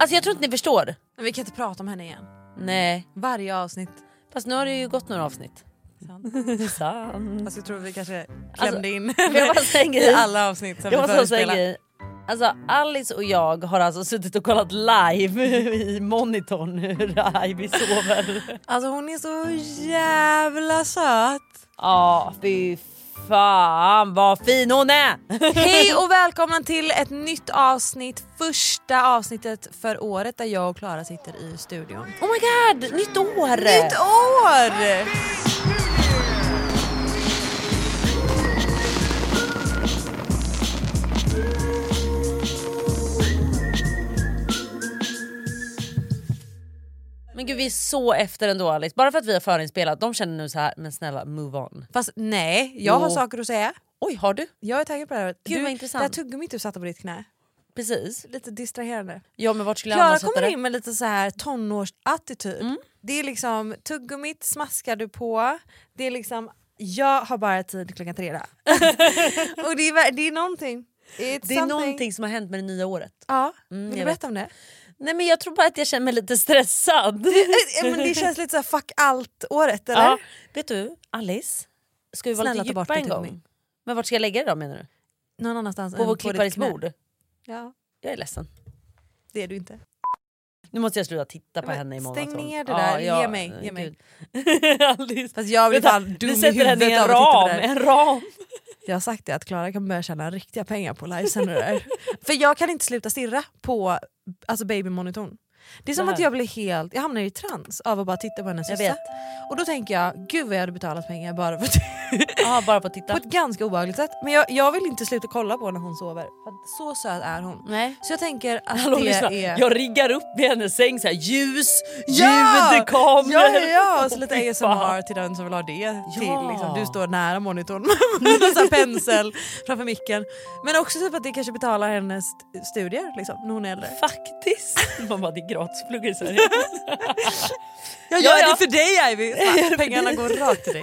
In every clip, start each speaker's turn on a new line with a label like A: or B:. A: Alltså jag tror inte ni förstår.
B: Men vi kan inte prata om henne igen.
A: Nej.
B: Varje avsnitt.
A: Fast nu har det ju gått några avsnitt.
B: Sant.
A: Sant.
B: Alltså, jag tror vi kanske klämde
A: Alltså,
B: in
A: Jag bara säger
B: i
A: i
B: alla avsnitt som
A: Jag
B: vi
A: måste också säga en
B: förespelar.
A: grej. Alltså Alice och jag har alltså suttit och kollat live i monitorn hur Ivy sover.
B: Alltså hon är så jävla söt.
A: Ja fy fan vad fin hon är!
B: Hej och välkomna till ett nytt avsnitt. Första avsnittet för året där jag och Klara sitter i studion.
A: Oh my god, nytt år!
B: Nytt år!
A: Men gud vi är så efter ändå Alice. Bara för att vi har förinspelat, de känner nu så här, men snälla move on.
B: Fast nej, jag har
A: Jo.
B: saker att säga.
A: Oj har du?
B: Jag är taggad på det här.
A: Gud,
B: du,
A: vad intressant.
B: Det här tuggummit du satte på ditt knä.
A: Precis.
B: Lite distraherande.
A: Ja men vart skulle jag
B: Klara
A: annars sätta
B: kommer
A: det? Mm.
B: in med lite så här tonårsattityd. Det är liksom tuggummit smaskar du på. Det är liksom jag har bara tid klockan tre idag. Och det är, ver- det är någonting. It's
A: Det är någonting som har hänt med det nya året.
B: Ja,
A: Mm,
B: vill du
A: jag vet.
B: berätta om det?
A: Nej men jag tror bara att jag känner mig lite stressad.
B: Eh, Men det känns lite så här fuck allt-året eller?
A: Ja. Vet du, Alice? Ska vi vara
B: Snälla,
A: lite
B: ta bort
A: djupare en
B: ditt tuggummi.
A: gång? Men vart ska jag lägga det då menar du?
B: Någon annanstans
A: På
B: än
A: vår
B: ditt
A: klippares
B: knä.
A: bord?
B: Ja,
A: Jag är ledsen.
B: det är du inte.
A: Nu måste jag sluta titta på
B: Men
A: henne i månaden.
B: stäng ner det där. Ge mig, ge mig.
A: Alice.
B: Fast jag blir
A: Vänta,
B: fan dum
A: Vi
B: i
A: sätter henne i
B: huvudet
A: en
B: av att titta
A: ram.
B: på det här.
A: En ram.
B: Jag har sagt det att Klara kan börja tjäna riktiga pengar på livesändare. För jag kan inte sluta stirra på alltså babymonitorn. Det är som
A: Det här.
B: att jag blir helt, jag hamnar i trans av att bara titta på hennes
A: Jag
B: sossa.
A: vet.
B: Och då tänker jag, gud vad jag hade betalat pengar bara för att
A: Ja, bara på att
B: på
A: titta.
B: ett ganska obehagligt sätt. Men jag, jag vill inte sluta kolla på när hon sover. För att så söt är hon.
A: Nej.
B: Så jag tänker att
A: Hallå,
B: det
A: lyssna.
B: är...
A: Jag riggar upp i hennes säng så här ljus,
B: Ja!
A: ljud, kameror.
B: Ja, ja, ja. Så lite
A: Åh, fy fan.
B: ASMR till den som vill ha det. Till, liksom.
A: Ja.
B: Du står nära monitorn med en sån här pensel framför micken. Men också typ att det kanske betalar hennes st- studier liksom, när hon är äldre.
A: Faktiskt. Man bara, det är gratisplugg i Sverige.
B: Jag
A: gör det
B: för dig Ivy!
A: Fan,
B: pengarna går rakt till dig.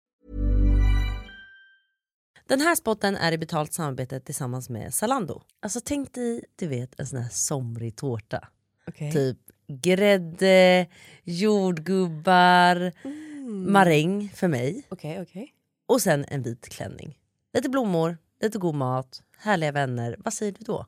A: Den här spotten är i betalt samarbete tillsammans med Zalando. Alltså tänk dig, du vet en sån här somrig tårta. Typ grädde, jordgubbar, maräng för mig
B: Okej, okej.
A: och sen en vit klänning. Lite blommor, lite god mat, härliga vänner. Vad säger du då?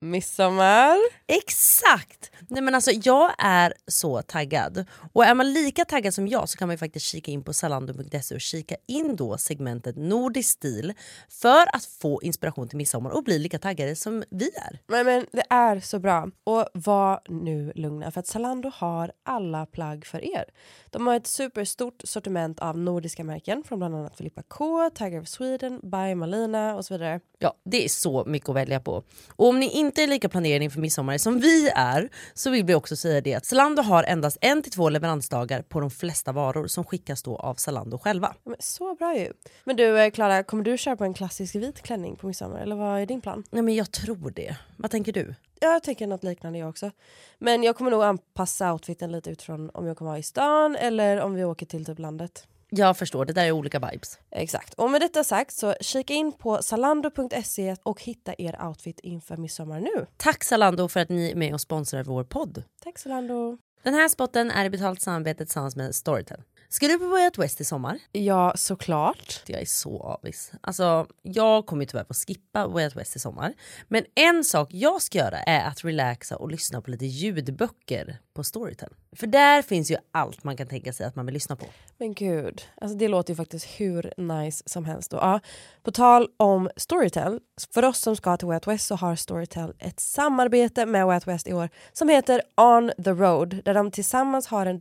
B: Midsommar.
A: Exakt! Nej, men alltså, jag är så taggad. Och är man lika taggad som jag så kan man ju faktiskt kika in på zalando.se och kika in då segmentet Nordisk stil för att få inspiration till midsommar och bli lika taggade som vi är.
C: Nej men det är så bra. Och var nu lugna för att Zalando har alla plagg för er. De har ett superstort sortiment av nordiska märken från bland annat Filippa K, Tiger of Sweden, By Malina och så vidare.
A: Ja, det är så mycket att välja på. Och om ni inte är lika planerade inför midsommar som vi är så vill vi också säga det att Zalando har endast en till två leveransdagar på de flesta varor som skickas då av Zalando själva.
C: Ja, Men så bra ju. Men du eh, Klara, kommer du köpa en klassisk vit klänning på midsommar eller vad är din plan?
A: Nej, men jag tror det. Vad tänker du?
C: Jag tänker något liknande jag också. Men jag kommer nog anpassa outfiten lite utifrån om jag kommer vara i stan eller om vi åker till typ landet.
A: Jag förstår, det där är olika vibes.
C: Exakt. Och med detta sagt så kika in på zalando.se och hitta er outfit inför midsommar nu.
A: Tack Zalando för att ni är med och sponsrar vår podd.
C: Tack Zalando.
A: Den här spotten är i betalt samarbete tillsammans med Storytel. Ska du på Way Out West i sommar?
C: Ja, såklart.
A: Jag är så avis. Alltså, jag kommer ju tyvärr få skippa Way Out West i sommar. Men en sak jag ska göra är att relaxa och lyssna på lite ljudböcker på Storytel. För där finns ju allt man kan tänka sig att man vill lyssna på.
C: Men gud, alltså det låter ju faktiskt hur nice som helst. Och, ja, på tal om Storytel, för oss som ska till Way Out West så har Storytel ett samarbete med Way Out West i år som heter On the Road där de tillsammans har en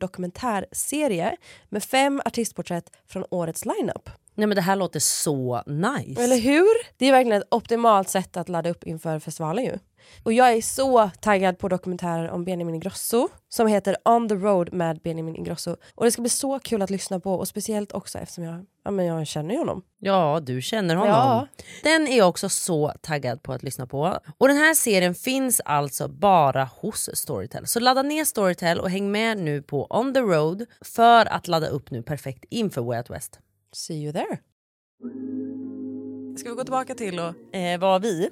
C: dokumentärserie med fem artistporträtt från årets lineup.
A: Nej men det här låter så nice.
C: Eller hur? Det är verkligen ett optimalt sätt att ladda upp inför festivalen ju. Och jag är så taggad på dokumentärer om Benjamin Ingrosso som heter On the Road med Benjamin Ingrosso. Och det ska bli så kul att lyssna på och speciellt också eftersom jag, ja, men jag känner ju honom.
A: Ja, du känner honom.
C: Ja.
A: Den är jag också så taggad på att lyssna på. Och den här serien finns alltså bara hos Storytel. Så ladda ner Storytel och häng med nu på On the Road för att ladda upp nu perfekt inför Way Out West.
C: See you there.
B: Ska vi gå tillbaka till och...
A: Eh, var vi?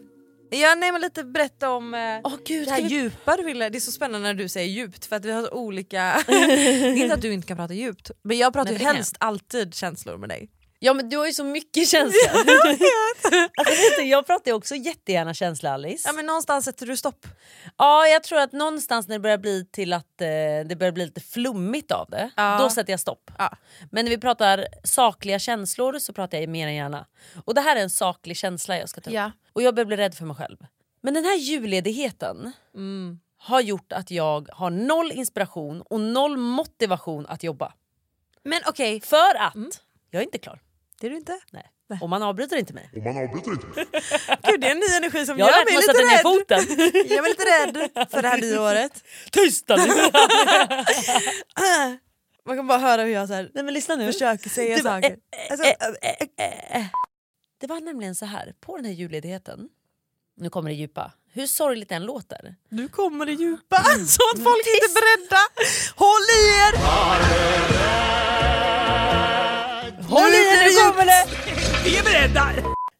B: Ja, nej, men lite berätta om eh,
A: Åh gud,
B: det här
A: ska vi...
B: djupa du ville. Det är så spännande när du säger djupt för att vi har så olika... det är inte att du inte kan prata djupt men jag pratar
A: Nej,
B: ju
A: det kan
B: helst alltid känslor med dig.
A: Ja men du har ju så mycket känslor. alltså, vet du, jag pratar ju också jättegärna känsla Alice.
B: Ja, men någonstans sätter du stopp.
A: Ja, jag tror att någonstans när det börjar bli till att eh, det börjar bli lite flummigt av det,
B: Ja.
A: då sätter jag stopp.
B: Ja.
A: Men när vi pratar sakliga känslor så pratar jag mer än gärna. Och det här är en saklig känsla jag ska ta upp.
B: Ja.
A: Och jag börjar bli rädd för mig själv. Men den här julledigheten
B: Mm.
A: har gjort att jag har noll inspiration och noll motivation att jobba.
B: Men okej, Mm.
A: För att jag är inte klar.
B: det är du inte.
A: Nej. Och man avbryter inte mig.
B: Gud, det är en ny energi som
A: Jag har
B: gör
A: lärt
B: mig
A: mig att
B: lite
A: sätta ner
B: rädd.
A: foten.
B: Jag är lite rädd för det här nyåret.
A: Tysta nu!
B: Man kan bara höra hur jag så här,
A: Nej men lyssna nu.
B: försöker säga
A: Du bara,
B: saker. alltså,
A: eh, eh, eh. Det var nämligen så här, på den här julledigheten, nu kommer det djupa, hur sorgligt den låter. Mm.
B: nu kommer det djupa, så att folk inte är beredda. Håll i er!
A: Håll
B: i er, nu kommer
A: det! Vi är beredda!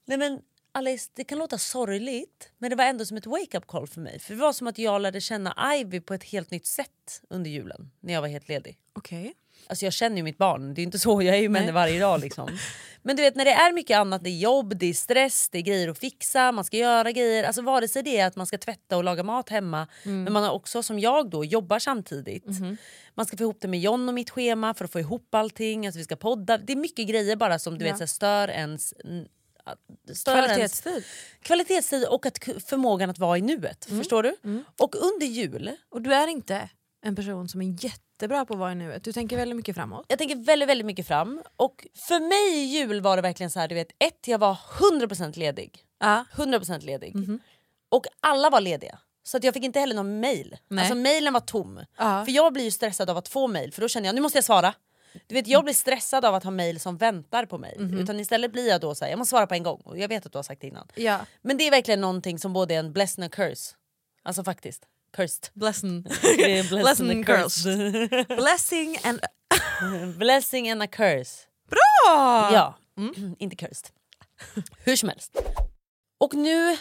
A: Nej men Alice, det kan låta sorgligt men det var ändå som ett wake-up call för mig. För det var som att jag lärde känna Ivy på ett helt nytt sätt under julen när jag var helt ledig.
B: Okej.
A: Alltså jag känner ju mitt barn, det är ju inte så, jag är ju med henne varje dag. Liksom. Men du vet när det är mycket annat, det är jobb, det är stress, det är grejer att fixa, man ska göra grejer. Alltså vare sig det är att man ska tvätta och laga mat hemma, men man har också som jag då jobbar samtidigt. Man ska få ihop det med John och mitt schema för att få ihop allting, alltså vi ska podda. Det är mycket grejer bara som du vet så här, stör ens n- att- stör ens-
B: Kvalitetstid.
A: Kvalitetstid och att, ku- förmågan att vara i nuet. Förstår du? Och under jul,
B: Och du är inte en person som är jättebra på att vara i nuet. Du tänker väldigt mycket framåt.
A: jag tänker väldigt, väldigt mycket fram. Och för mig i jul var det verkligen så här, du vet, ett, jag var 100% ledig.
B: Ja. Mhm.
A: 100% ledig. Och alla var lediga. Så att jag fick inte heller någon mail.
B: Nej.
A: Alltså mailen var tom.
B: Ja.
A: För jag blir ju stressad av att få mail för då känner jag nu måste jag svara. Du vet jag blir stressad av att ha mail som väntar på mig.
B: Mhm.
A: Utan istället blir jag då så här, jag måste svara på en gång. Och jag vet att du har sagt det innan.
B: ja.
A: Men det är verkligen någonting som både är en blessing and curse. Alltså faktiskt. Cursed.
B: Blessing.
A: Det är blessing
B: Blessing
A: and
B: and
A: cursed.
B: Blessing and...
A: Blessing and a curse.
B: Ah!
A: Ja, Mm, inte cursed. Hur som helst. Och nu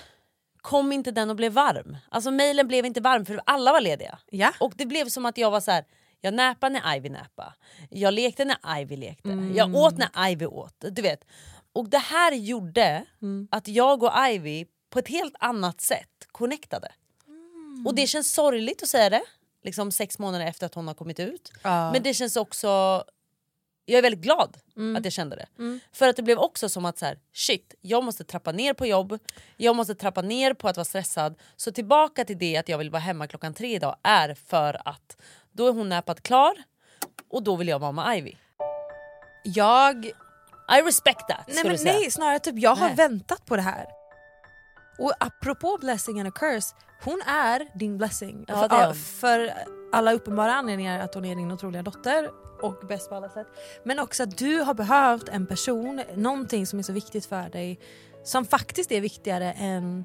A: kom inte den och blev varm. Alltså mejlen blev inte varm för alla var lediga.
B: Ja.
A: Och det blev som att jag var så här. Jag näpade när Ivy näpa. Jag lekte när Ivy lekte. Jag åt när Ivy åt. Du vet. Och det här gjorde att jag och Ivy på ett helt annat sätt connectade. Och det känns sorgligt att säga det. Liksom sex månader efter att hon har kommit ut. Men det känns också jag är väldigt glad
B: Mm.
A: att jag kände det. För att det blev också som att så här, shit, jag måste trappa ner på jobb, jag måste trappa ner på att vara stressad. Så tillbaka till det att jag vill vara hemma klockan tre idag är för att då är hon näpat klar och då vill jag vara med Ivy.
B: Jag
A: I respect that
B: Nej,
A: skulle
B: men
A: jag säga.
B: nej snarare typ jag har
A: Nej.
B: väntat på det här. Och apropå blessing and a curse, hon är din blessing.
A: Ja,
B: för,
A: det är hon.
B: för alla uppenbara anledningar att hon är din otroliga dotter och bäst på alla sätt. Men också att du har behövt en person, någonting som är så viktigt för dig som faktiskt är viktigare än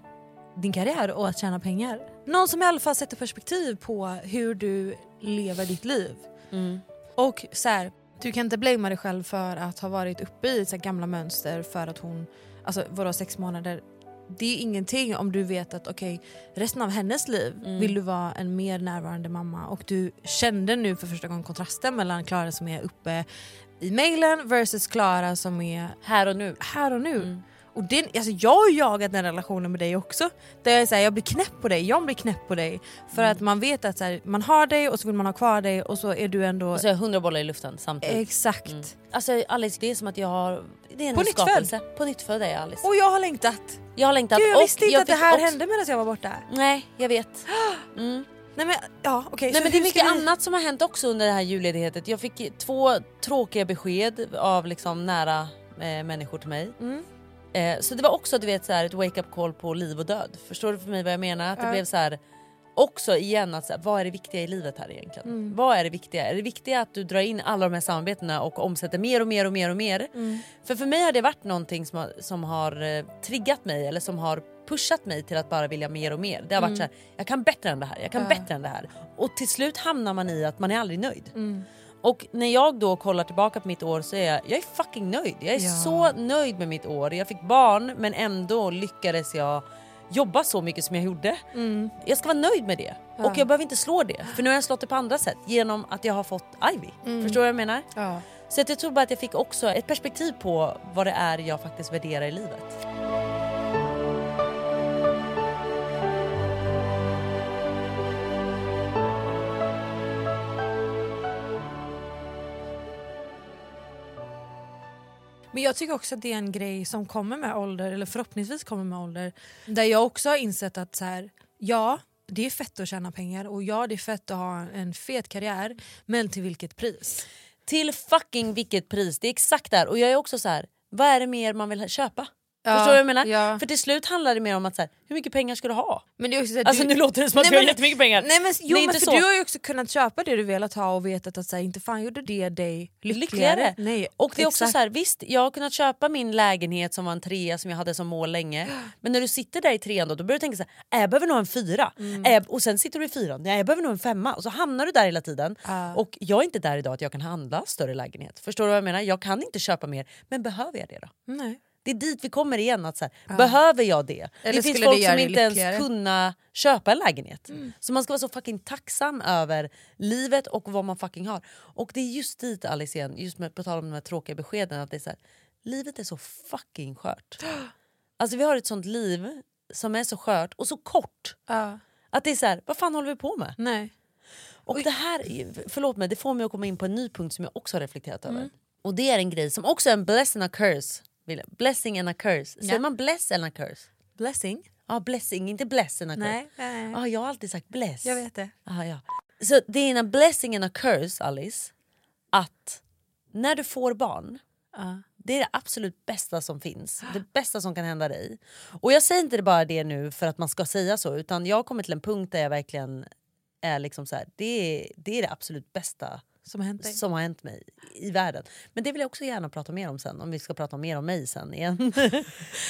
B: din karriär och att tjäna pengar. Någon som i alla fall sätter perspektiv på hur du lever ditt liv. Och så här, Du kan inte blamea dig själv för att ha varit uppe i så här gamla mönster för att hon, alltså vadå sex månader? Det är ingenting om du vet att okej, resten av hennes liv
A: Mm.
B: vill du vara en mer närvarande mamma och du kände nu för första gången kontrasten mellan Klara som är uppe i mailen versus Klara som är
A: Här och nu. Mm.
B: här och nu. Och det, alltså jag har jagat den relationen med dig också. Där jag, är så här, jag blir knäpp på dig, jag blir knäpp på dig. För
A: Mm.
B: att man vet att så här, man har dig och så vill man ha kvar dig och så är du ändå...
A: Och så är jag hundra bollar i luften
B: Typ.
A: samtidigt.
B: Exakt.
A: Alltså Alice det är som att jag har... Det är en
B: På nytt
A: skapelse. På nytt född är jag Alice.
B: Och jag har längtat.
A: jag har längtat
B: Gud, jag
A: och
B: visste inte att det
A: fick
B: här
A: också-
B: hände medan jag var borta.
A: Nej jag vet.
B: Nej men ja okej.
A: Nej,
B: så
A: men det är
B: hur ska
A: mycket
B: vi-
A: annat som har hänt också under det här julledigheten. Jag fick två tråkiga besked av liksom nära eh, människor till mig.
B: Mm.
A: Eh, så det var också du vet, så här, ett wake-up call på liv och död. Förstår du för mig vad jag menar? Att det blev så här, också igen, att, så här, vad är det viktiga i livet här egentligen? Vad är det viktiga? Är det viktiga att du drar in alla de här samarbetena och omsätter mer och mer och mer och mer? För för mig har det varit någonting som har, som har eh, triggat mig eller som har pushat mig till att bara vilja mer och mer. Det har varit så här, jag kan bättre än det här, jag kan bättre än det här. Och till slut hamnar man i att man är aldrig nöjd. Och när jag då kollar tillbaka på mitt år så är jag, jag är fucking nöjd. Jag är
B: Ja.
A: så nöjd med mitt år. Jag fick barn men ändå lyckades jag jobba så mycket som jag gjorde.
B: Mm.
A: Jag ska vara nöjd med det. Och jag behöver inte slå det. För nu har jag slått det på andra sätt genom att jag har fått Ivy. Förstår du vad jag menar?
B: Mm. Ja.
A: Så att jag tror bara att jag fick också ett perspektiv på vad det är jag faktiskt värderar i livet.
B: Men jag tycker också att det är en grej som kommer med ålder, eller förhoppningsvis kommer med ålder. Där jag också har insett att så här, ja, det är fett att tjäna pengar och ja, det är fett att ha en fet karriär. Men till vilket pris?
A: Till fucking vilket pris, det är exakt där. Och jag är också så här, vad är det mer man vill köpa?
B: Ja,
A: Förstår du vad jag menar?
B: ja.
A: För till slut handlar det mer om att så här, hur mycket pengar ska du ha?
B: Men det är också så här,
A: Alltså
B: du-
A: nu låter det som att
B: Nej,
A: jag har
B: men-
A: jättemycket pengar.
B: Nej men, jo,
A: Det är
B: men
A: inte
B: för
A: så.
B: du har ju också kunnat köpa det du velat ha och vetat att så här, inte fan gjorde det dig lyckligare.
A: lyckligare.
B: Nej,
A: och det är också
B: exakt.
A: så här, visst jag har kunnat köpa min lägenhet som var en trea som jag hade som mål länge. Men när du sitter där i trean då, då börjar du tänka så här, äh, jag behöver nog en fyra.
B: Mm.
A: Äh, och sen sitter du i fyran, nej jag behöver nog en femma. Och så hamnar du där hela tiden.
B: Ah.
A: Och jag är inte där idag att jag kan handla större lägenhet. Förstår du vad jag menar? Jag kan inte köpa mer, men behöver jag det då?
B: Nej. Ah.
A: Det är dit vi kommer igen. Att så här, Behöver jag det?
B: Eller
A: det finns
B: skulle det
A: folk
B: göra
A: som
B: dig
A: inte ens
B: lyckligare?
A: kunna köpa en lägenhet.
B: Mm.
A: Så man ska vara så fucking tacksam över livet och vad man fucking har. Och det är just dit Alice igen, just med, på tal om de här tråkiga beskeden. Att det är så här, livet är så fucking skört. Alltså vi har ett sånt liv som är så skört och så kort.
B: Ja. Mm.
A: Att det är så här, vad fan håller vi på med?
B: Nej.
A: Och det här, förlåt mig, det får mig att komma in på en ny punkt som jag också har reflekterat
B: Mm.
A: över. Och det är en grej som också är en blessing and a curse. William. Blessing and a curse. Säger
B: Ja.
A: man bless eller a curse?
B: Blessing?
A: Ja, blessing, inte bless and a curse.
B: Nej. nej.
A: Ja, Ah, jag har alltid sagt bless.
B: Jag vet det.
A: Ja, ja. Så det är en blessing and a curse, Alice, att när du får barn, det är det absolut bästa som finns. Det bästa som kan hända dig. Och jag säger inte det bara det nu för att man ska säga så, utan jag har kommit till en punkt där jag verkligen är liksom så här, det är det, är det absolut bästa
B: Som har hänt dig.
A: som har hänt mig i världen. Men det vill jag också gärna prata mer om sen, om vi ska prata mer om mig sen igen. nej,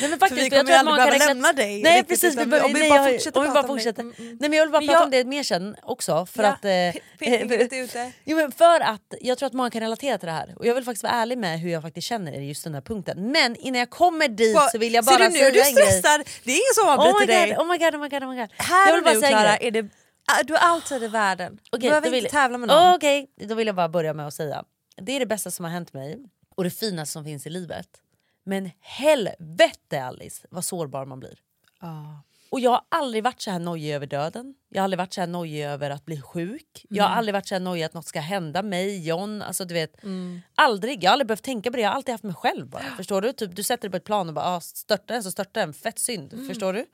A: men faktiskt,
B: vi
A: för jag
B: kommer
A: tror att
B: aldrig
A: man
B: behöva
A: kan räkna-
B: lämna dig
A: Nej
B: riktigt,
A: precis,
B: utan
A: vi bör-
B: om vi
A: nej,
B: bara
A: jag-
B: fortsätter
A: om vi bara
B: prata om dig.
A: fortsätter.
B: Mm, mm.
A: Nej men jag vill bara
B: Men
A: prata
B: jag-
A: om det mer sen också för
B: Ja,
A: att... eh,
B: Pekfingret är ute.
A: Jo, men för att jag tror att många kan relatera till det här och jag vill faktiskt vara ärlig med hur jag faktiskt känner i just den här punkten. Men innan jag kommer dit så vill jag bara
B: Ser du
A: säga
B: nu, du
A: en grej.
B: stressar. Det är ingen som
A: Oh
B: avbryter
A: my,
B: dig.
A: god, oh my god, oh my god, oh my god.
B: Här
A: jag vill
B: och nu
A: säga en
B: Klara,
A: grej.
B: är det, ah, du är outside i världen. Du
A: Okej,
B: behöver
A: då vill-
B: inte tävla med någon.
A: Okej, då vill jag bara börja med att säga. Det är det bästa som har hänt mig och det finaste som finns i livet. Men helvete Alice vad sårbar man blir. Och jag har aldrig varit så här nojig över döden. Jag har aldrig varit så här nojig över att bli sjuk. Jag
B: Mm.
A: har aldrig varit så här nojig att något ska hända mig, John. Alltså, du vet,
B: Mm.
A: Aldrig. Jag har aldrig behövt tänka på det. Jag har alltid haft mig själv bara. Förstår du? Typ, du sätter dig på ett plan och bara ah, störtar den så störtar den. Fett synd.
B: Mm.
A: Förstår du?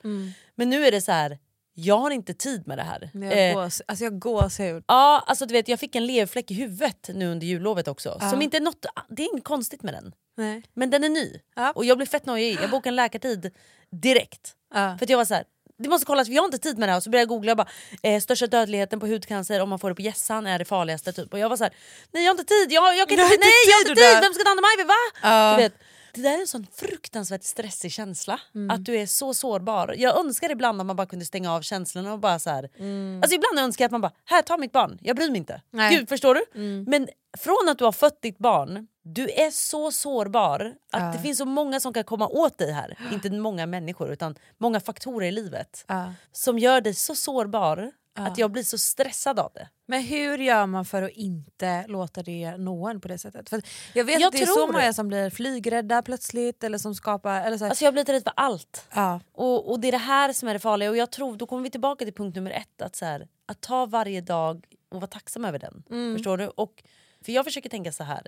A: Men nu är det så här. Jag har inte tid med det här.
B: Men
A: Eh,
B: Jag gås, alltså jag gåshud.
A: Ja, alltså du vet jag fick en leverfläck i huvudet nu under jullovet också. Som inte är något, det är inget konstigt med den.
B: Nej.
A: Men den är ny
B: Ja.
A: och jag blev fett nojig. Jag bokade en läkartid direkt.
B: Ja.
A: För att jag var så här, det måste kollas för jag har inte tid med det här. Och så började jag googla bara, eh, största dödligheten på hudcancer om man får det på gässan är det farligaste. Typ. Och jag var så här, nej jag har inte tid, jag, jag kan inte,
B: Du har
A: nej
B: inte
A: jag har
B: tid
A: inte
B: att
A: tid,
B: dö.
A: vem ska ta hand om Ivy va?
B: Ja.
A: Du vet. Det där är en sån fruktansvärt stressig känsla.
B: Mm.
A: Att du är så sårbar. Jag önskar ibland att man bara kunde stänga av känslorna och bara så här. Alltså ibland önskar jag att man bara, här ta mitt barn, jag bryr mig inte.
B: Mm. Nej. Mm.
A: Gud förstår du? Men från att du har fött ditt barn, du är så sårbar att det finns så många som kan komma åt dig här. Inte många människor utan många faktorer i livet.
B: Ja.
A: Som gör dig så sårbar att jag blir så stressad av det.
B: Men hur gör man för att inte låta det nå en på det sättet? För att jag vet
A: Jag
B: att det är så
A: tror-
B: många som blir flygrädda plötsligt eller som skapar... Eller så här,
A: Alltså jag blir lite rädd för allt.
B: ja.
A: Och, och det är det här som är det farliga. Och jag tror, då kommer vi tillbaka till punkt nummer ett. Att, så här, att ta varje dag och vara tacksam över den. Förstår du? Och, för jag försöker tänka så här.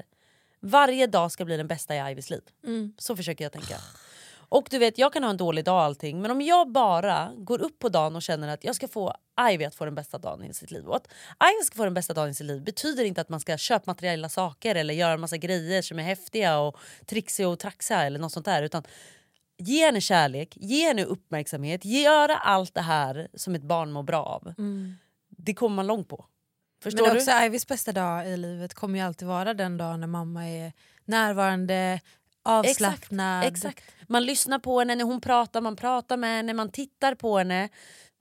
A: Varje dag ska bli den bästa i Ivies liv.
B: Mm.
A: Så försöker jag tänka. Och du vet, jag kan ha en dålig dag och allting. Men om jag bara går upp på dagen och känner att jag ska få Ivy att få den bästa dagen i sitt liv. Och att Ivy ska få den bästa dagen i sitt liv betyder inte att man ska köpa materiella saker eller göra en massa grejer som är häftiga och trixiga och traxiga eller något sånt där. Utan Ge henne kärlek, ge henne uppmärksamhet, göra allt det här som ett barn mår bra av. Det kommer man långt på. Förstår
B: Mm. Men
A: du?
B: också Ivys bästa dag i livet kommer ju alltid vara den dagen när mamma är närvarande, avslappnad.
A: Exakt. Man lyssnar på henne när hon pratar, man pratar med henne, man tittar på henne.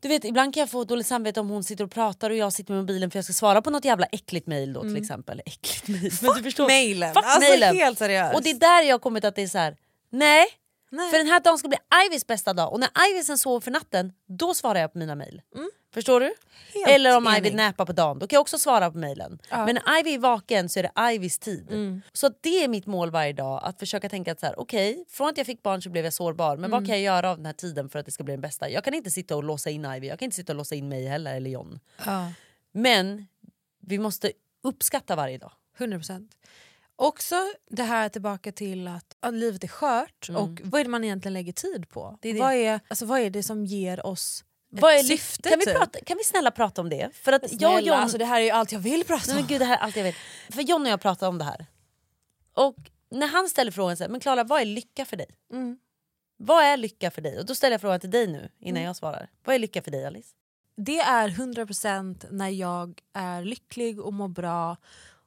A: Du vet, ibland kan jag få dåligt samvete om hon sitter och pratar och jag sitter med mobilen för jag ska svara på något jävla äckligt mejl då till exempel. Äckligt mejl. Mm. Men du förstår.
B: mailen.
A: Fuck
B: Alltså,
A: mailen.
B: helt seriöst.
A: Och det är där jag har kommit att det är så här. Nej,
B: Nej.
A: för den här dagen ska bli Ivys bästa dag och när Ivy sen sover för natten då svarar jag på mina mejl. Förstår du?
B: Mm. Helt
A: Eller om
B: enig.
A: Ivy nappar på dagen, då kan jag också svara på mejlen. Men när Ivy är vaken så är det Ivys tid.
B: Mm.
A: Så att det är mitt mål varje dag, att försöka tänka att så här, okej, från att jag fick barn så blev jag sårbar, men
B: Mm.
A: vad kan jag göra av den här tiden för att det ska bli den bästa? Jag kan inte sitta och låsa in Ivy, jag kan inte sitta och låsa in mig heller, eller John.
B: Ja.
A: Men vi måste uppskatta varje dag.
B: 100 procent. Också det här tillbaka till att, att livet är skört och vad är det man egentligen lägger tid på?
A: är det.
B: Vad, Mm. är, alltså, vad är det som ger oss ett
A: Vad är
B: syfte?
A: kan, vi
B: typ?
A: prata, kan vi snälla prata om det? För att jag och
B: Snälla,
A: John...
B: alltså, det här är ju allt jag vill prata
A: Nej,
B: om.
A: men gud, det här är allt jag vet. För John och jag pratade om det här. Och när han ställer frågan så här, men Klara vad är lycka för dig?
B: Mm.
A: Vad är lycka för dig? Och då ställer jag frågan till dig nu innan
B: Mm.
A: jag svarar. Vad är lycka för dig Alice?
B: Det är 100% när jag är lycklig och mår bra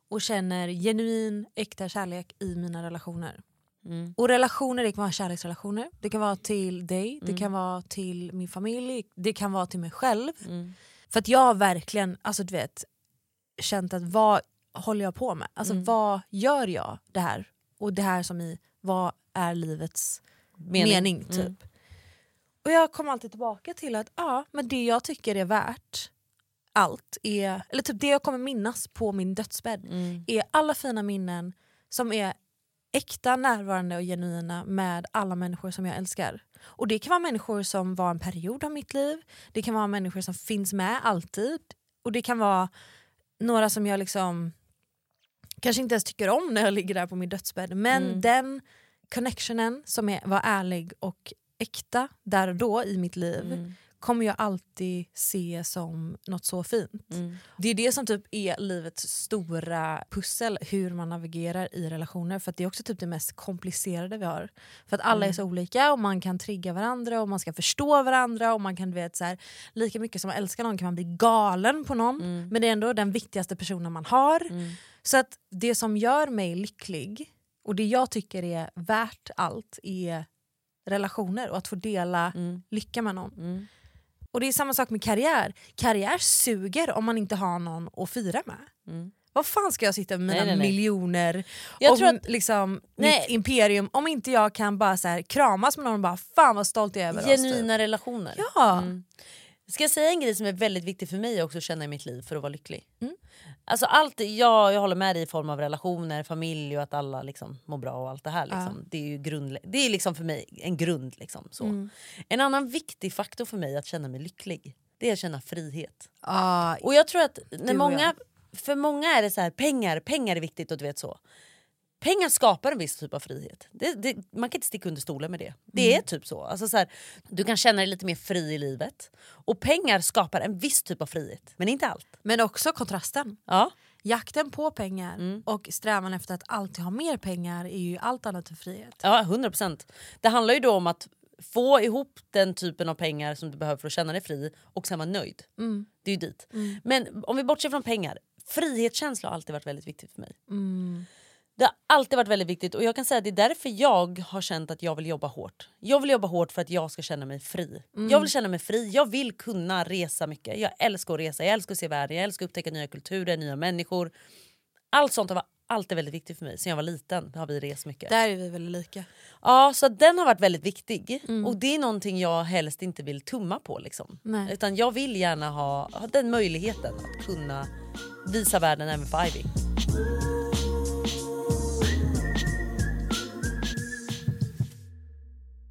B: och känner genuin, äkta kärlek i mina relationer. Och relationer det kan vara kärleksrelationer, det kan vara till dig, det kan vara till min familj, det kan vara till mig själv. För att jag har verkligen alltså, du vet, känt att vad håller jag på med? Alltså vad gör jag det här? Och det här som i vad är livets mening, typ. Och jag kom alltid tillbaka till att ja, men det jag tycker är värt allt, är, eller typ det jag kommer minnas på min dödsbädd är alla fina minnen som är äkta, närvarande och genuina med alla människor som jag älskar. Och det kan vara människor som var en period av mitt liv, det kan vara människor som finns med alltid och det kan vara några som jag liksom kanske inte ens tycker om när jag ligger där på min dödsbädd. Men den connectionen som är, var ärlig och äkta där och då i mitt liv kommer jag alltid se som något så fint. Det är det som typ är livets stora pussel, hur man navigerar i relationer. För att Det är också typ det mest komplicerade vi har. För att alla är så olika och man kan trigga varandra och man ska förstå varandra. och man kan du vet, så här, Lika mycket som man älskar någon kan man bli galen på någon men det är ändå den viktigaste personen man har. Så att det som gör mig lycklig och det jag tycker är värt allt är relationer och att få dela
A: Mm.
B: lycka med någon. Och det är samma sak med karriär. Karriär suger om man inte har någon att fira med. Vad fan ska jag sitta med mina
A: Mm. Nej, nej, nej.
B: miljoner
A: Jag
B: och
A: tror att-
B: liksom
A: Nej.
B: mitt imperium om inte jag kan bara så här kramas med någon och bara fan vad stolt jag är över oss, typ.
A: Genuina relationer.
B: Ja.
A: Mm. Ska jag säga en grej som är väldigt viktig för mig också att känna i mitt liv för att vara lycklig? Alltså allt, jag, jag håller med dig i form av relationer, familj och att alla liksom mår bra och allt det här. Liksom. Det är ju grundlä- det är liksom för mig en grund. Liksom, så. En annan viktig faktor för mig att känna mig lycklig, det är att känna frihet.
B: Ah,
A: Och jag tror att
B: och
A: när
B: jag.
A: många, för många är det så här, pengar, pengar är viktigt och du vet så. Pengar skapar en viss typ av frihet. Det, det, man kan inte sticka under stolen med det. Det
B: Mm.
A: är typ så. Alltså så här, du kan känna dig lite mer fri i livet. Och pengar skapar en viss typ av frihet, men inte allt.
B: Men också kontrasten.
A: Ja.
B: Jakten på pengar
A: Mm.
B: och strävan efter att alltid ha mer pengar är ju allt annat än frihet.
A: Ja, 100 procent. Det handlar ju då om att få ihop den typen av pengar som du behöver för att känna dig fri och sen vara nöjd. Det är ju dit. Men om vi bortser från pengar, frihetskänsla har alltid varit väldigt viktigt för mig. Det har alltid varit väldigt viktigt och jag kan säga att det är därför jag har känt att jag vill jobba hårt. Jag vill jobba hårt för att jag ska känna mig fri. Jag vill känna mig fri, jag vill kunna resa mycket. Jag älskar att resa, jag älskar att se världen, jag älskar att upptäcka nya kulturer, nya människor. Allt sånt har varit alltid väldigt viktigt för mig. Sen jag var liten har vi rest mycket.
B: Där är vi väldigt lika.
A: Ja, så den har varit väldigt viktig. Och det är någonting jag helst inte vill tumma på. Liksom.
B: Nej.
A: Utan jag vill gärna ha, ha den möjligheten att kunna visa världen även för Ivy.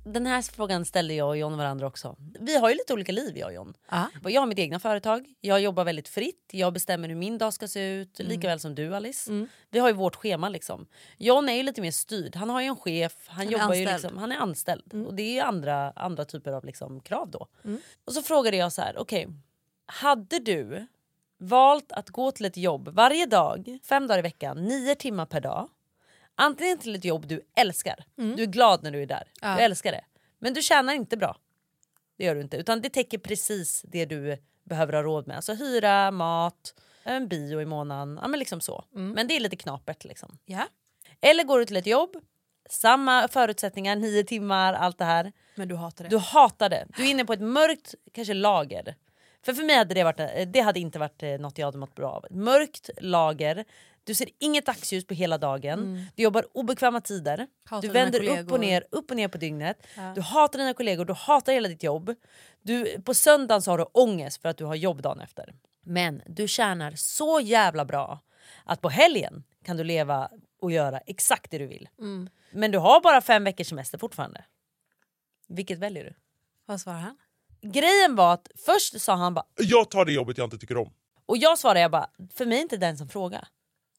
A: Den här frågan ställde jag och John varandra också. Vi har ju lite olika liv jag och John.
B: Ja.
A: Jag har mitt egna företag, jag jobbar väldigt fritt, jag bestämmer hur min dag ska se ut,
B: Mm.
A: lika väl som du Alice. Vi har ju vårt schema liksom. John är ju lite mer styrd, han har ju en chef, han,
B: är
A: jobbar ju
B: anställd. Mm.
A: liksom, han är anställd. Och det är ju andra, andra typer av liksom, krav då. Och så frågade jag så här, okej, hade du valt att gå till ett jobb varje dag, fem dagar i veckan, nio timmar per dag. Antingen till ett jobb du älskar, du är glad när du är där, du älskar det. Men du tjänar inte bra. Det gör du inte. Utan det täcker precis det du behöver ha råd med. Alltså hyra, mat, en bio i månaden. Ja, men liksom så. Men det är lite knapert. Liksom.
B: ja.
A: Eller går du till ett jobb, samma förutsättningar, nio timmar, allt det här.
B: Men du hatar det.
A: Du hatar det. Du är inne på ett mörkt kanske lager. För för mig hade det, varit, eh, det hade inte varit eh, något jag hade mått bra av. Mörkt lager, du ser inget dagsljus på hela dagen. Du jobbar obekväma tider.
B: Mm. Hatar
A: du
B: dina
A: vänder upp
B: kollegor.
A: och ner, upp och ner på dygnet. Du hatar dina kollegor, du hatar hela ditt jobb. Du, på söndagen så har du ångest för att du har jobb dagen efter. Men du tjänar så jävla bra att på helgen kan du leva och göra exakt det du vill.
B: Mm.
A: Men du har bara fem veckors semester fortfarande. Vilket väljer du?
B: Vad svarar han?
A: Grejen var att först sa han bara
D: Jag tar det jobbet jag inte tycker om.
A: och jag svarade jag bara för mig är inte den som frågar.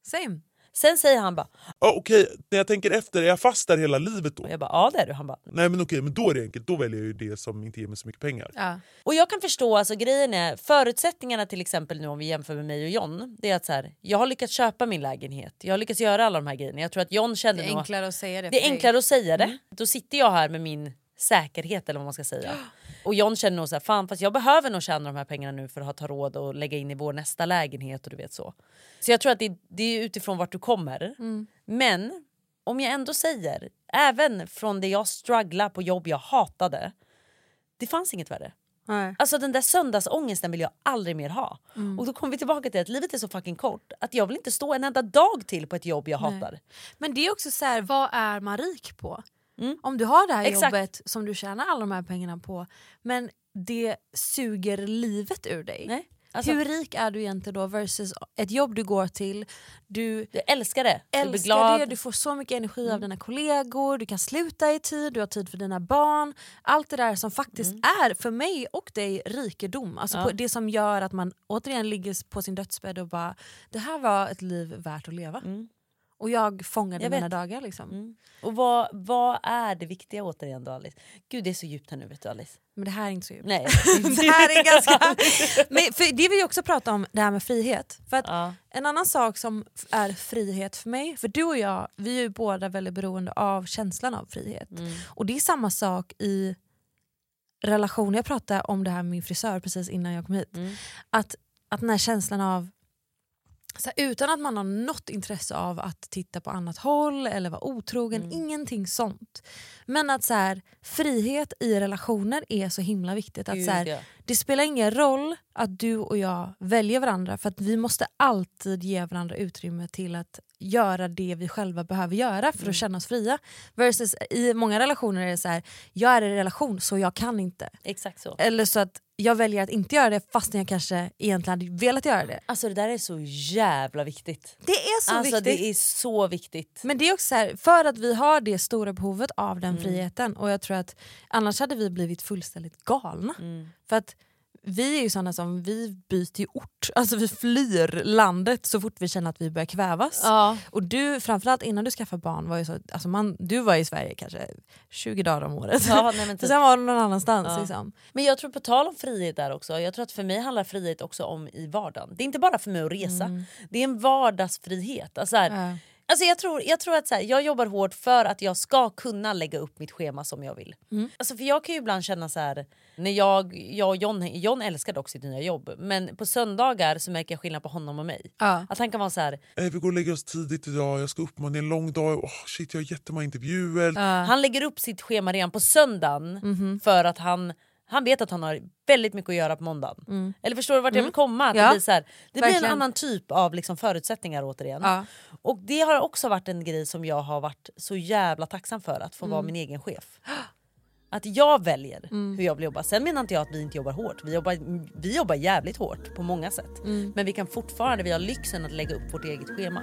B: Same.
A: Sen säger han bara
D: Ja, okej, när jag tänker efter, är jag fast där hela livet då?
A: och jag bara ja det är du. Han bara
D: Nej men okej, men då är det enkelt. Då väljer jag ju det som inte ger mig så mycket pengar.
B: Ja.
A: Och jag kan förstå, alltså grejen är förutsättningarna till exempel nu om vi jämför med mig och John. Det är att så här, jag har lyckats köpa min lägenhet, jag har lyckats göra alla de här grejerna. Jag tror att John kände
B: Det är
A: nog-
B: enklare att säga det.
A: Det
B: för
A: är
B: dig.
A: enklare att säga
B: Mm.
A: det. Då sitter jag här med min säkerhet eller vad man ska säga. Och John känner nog så här, fan fast jag behöver nog tjäna de här pengarna nu för att ha ta råd och lägga in i vår nästa lägenhet och du vet så. Så jag tror att det, det är utifrån vart du kommer.
B: Mm.
A: Men om jag ändå säger, även från det jag strugglar på jobb jag hatade, det fanns inget värre.
B: Nej. Mm.
A: Alltså den där söndagsångesten vill jag aldrig mer ha. Och då kommer vi tillbaka till att livet är så fucking kort att jag vill inte stå en enda dag till på ett jobb jag hatar.
B: Men det är också så här, vad är man rik på? Om du har det här
A: Mm. Exakt.
B: jobbet som du tjänar alla de här pengarna på men det suger livet ur dig.
A: Nej. Alltså,
B: Hur rik är du egentligen då versus ett jobb du går till, du
A: Du älskar det. du blir
B: älskar
A: glad. Mm.
B: det, du får så mycket energi av dina kollegor, du kan sluta i tid, du har tid för dina barn. Allt det där som faktiskt
A: Mm.
B: är för mig och dig rikedom. Alltså på det som gör att man återigen ligger på sin dödsbädd och bara det här var ett liv värt att leva. Och jag
A: Mm.
B: fångade
A: Jag
B: mina
A: vet. Mm.
B: dagar liksom.
A: Och vad, vad är det viktiga återigen då Alice? Gud det är så djupt här nu vet du Alice.
B: Men det här är inte så djupt.
A: Nej.
B: det här är ganska... Men för det vill jag också prata om, det här med frihet. För att
A: Ja.
B: En annan sak som f- är frihet för mig, för du och jag vi är ju båda väldigt beroende av känslan av frihet.
A: Mm.
B: Och det är samma sak i relation. Jag pratade om det här med min frisör precis innan jag kom hit.
A: Mm.
B: Att, att den här känslan av så här, utan att man har något intresse av att titta på annat håll eller vara otrogen,
A: Mm.
B: ingenting sånt. Men att så här, frihet i relationer är så himla viktigt. Att,
A: Gud,
B: så här,
A: ja.
B: Det spelar ingen roll att du och jag väljer varandra för att vi måste alltid ge varandra utrymme till att göra det vi själva behöver göra för
A: Mm.
B: att känna oss fria. Versus i många relationer är det så här, jag är i en relation så jag kan inte.
A: Exakt så.
B: Eller så att jag väljer att inte göra det fastän jag kanske egentligen hade velat göra det.
A: Alltså det där är så jävla viktigt.
B: Det är så
A: alltså
B: viktigt.
A: det är så viktigt.
B: Men det är också så här, för att vi har det stora behovet av
A: Mm.
B: den friheten och jag tror att annars hade vi blivit fullständigt galna.
A: Mm.
B: För att vi är ju sådana som, vi byter ju ort, alltså vi flyr landet så fort vi känner att vi börjar kvävas. Och du, framförallt innan du skaffade barn, var ju så, alltså man, du var i Sverige kanske 20 dagar om året.
A: Ja, nej, men typ.
B: Sen var du någon annanstans. Liksom.
A: Men jag tror på tal om frihet där också. Jag tror att för mig handlar frihet också om i vardagen. Det är inte bara för mig att resa. Det är en vardagsfrihet. Alltså här, Alltså jag, tror, jag tror att så här, jag jobbar hårt för att jag ska kunna lägga upp mitt schema som jag vill. Alltså för jag kan ju ibland känna så här, när jag, jag och John, John älskar dock sitt nya jobb men på söndagar så märker jag skillnad på honom och mig.
B: Ja.
A: Att han kan vara så här,
D: Eh, vi går och lägger oss tidigt idag, jag ska upp imorgon, det är en lång dag, oh, shit jag har jättemånga intervjuer.
A: han lägger upp sitt schema redan på söndagen för att han han vet att han har väldigt mycket att göra på måndagen. Eller förstår du vart jag vill komma? Att
B: Ja.
A: det blir, så här, det blir en
B: Verkligen.
A: annan typ av liksom förutsättningar återigen.
B: Ja.
A: Och det har också varit en grej som jag har varit så jävla tacksam för, att få vara min egen chef. Att jag väljer hur jag vill jobba. Sen menar inte jag att vi inte jobbar hårt. Vi jobbar, vi jobbar jävligt hårt på många sätt. Men vi kan fortfarande, vi har lyxen att lägga upp vårt eget schema.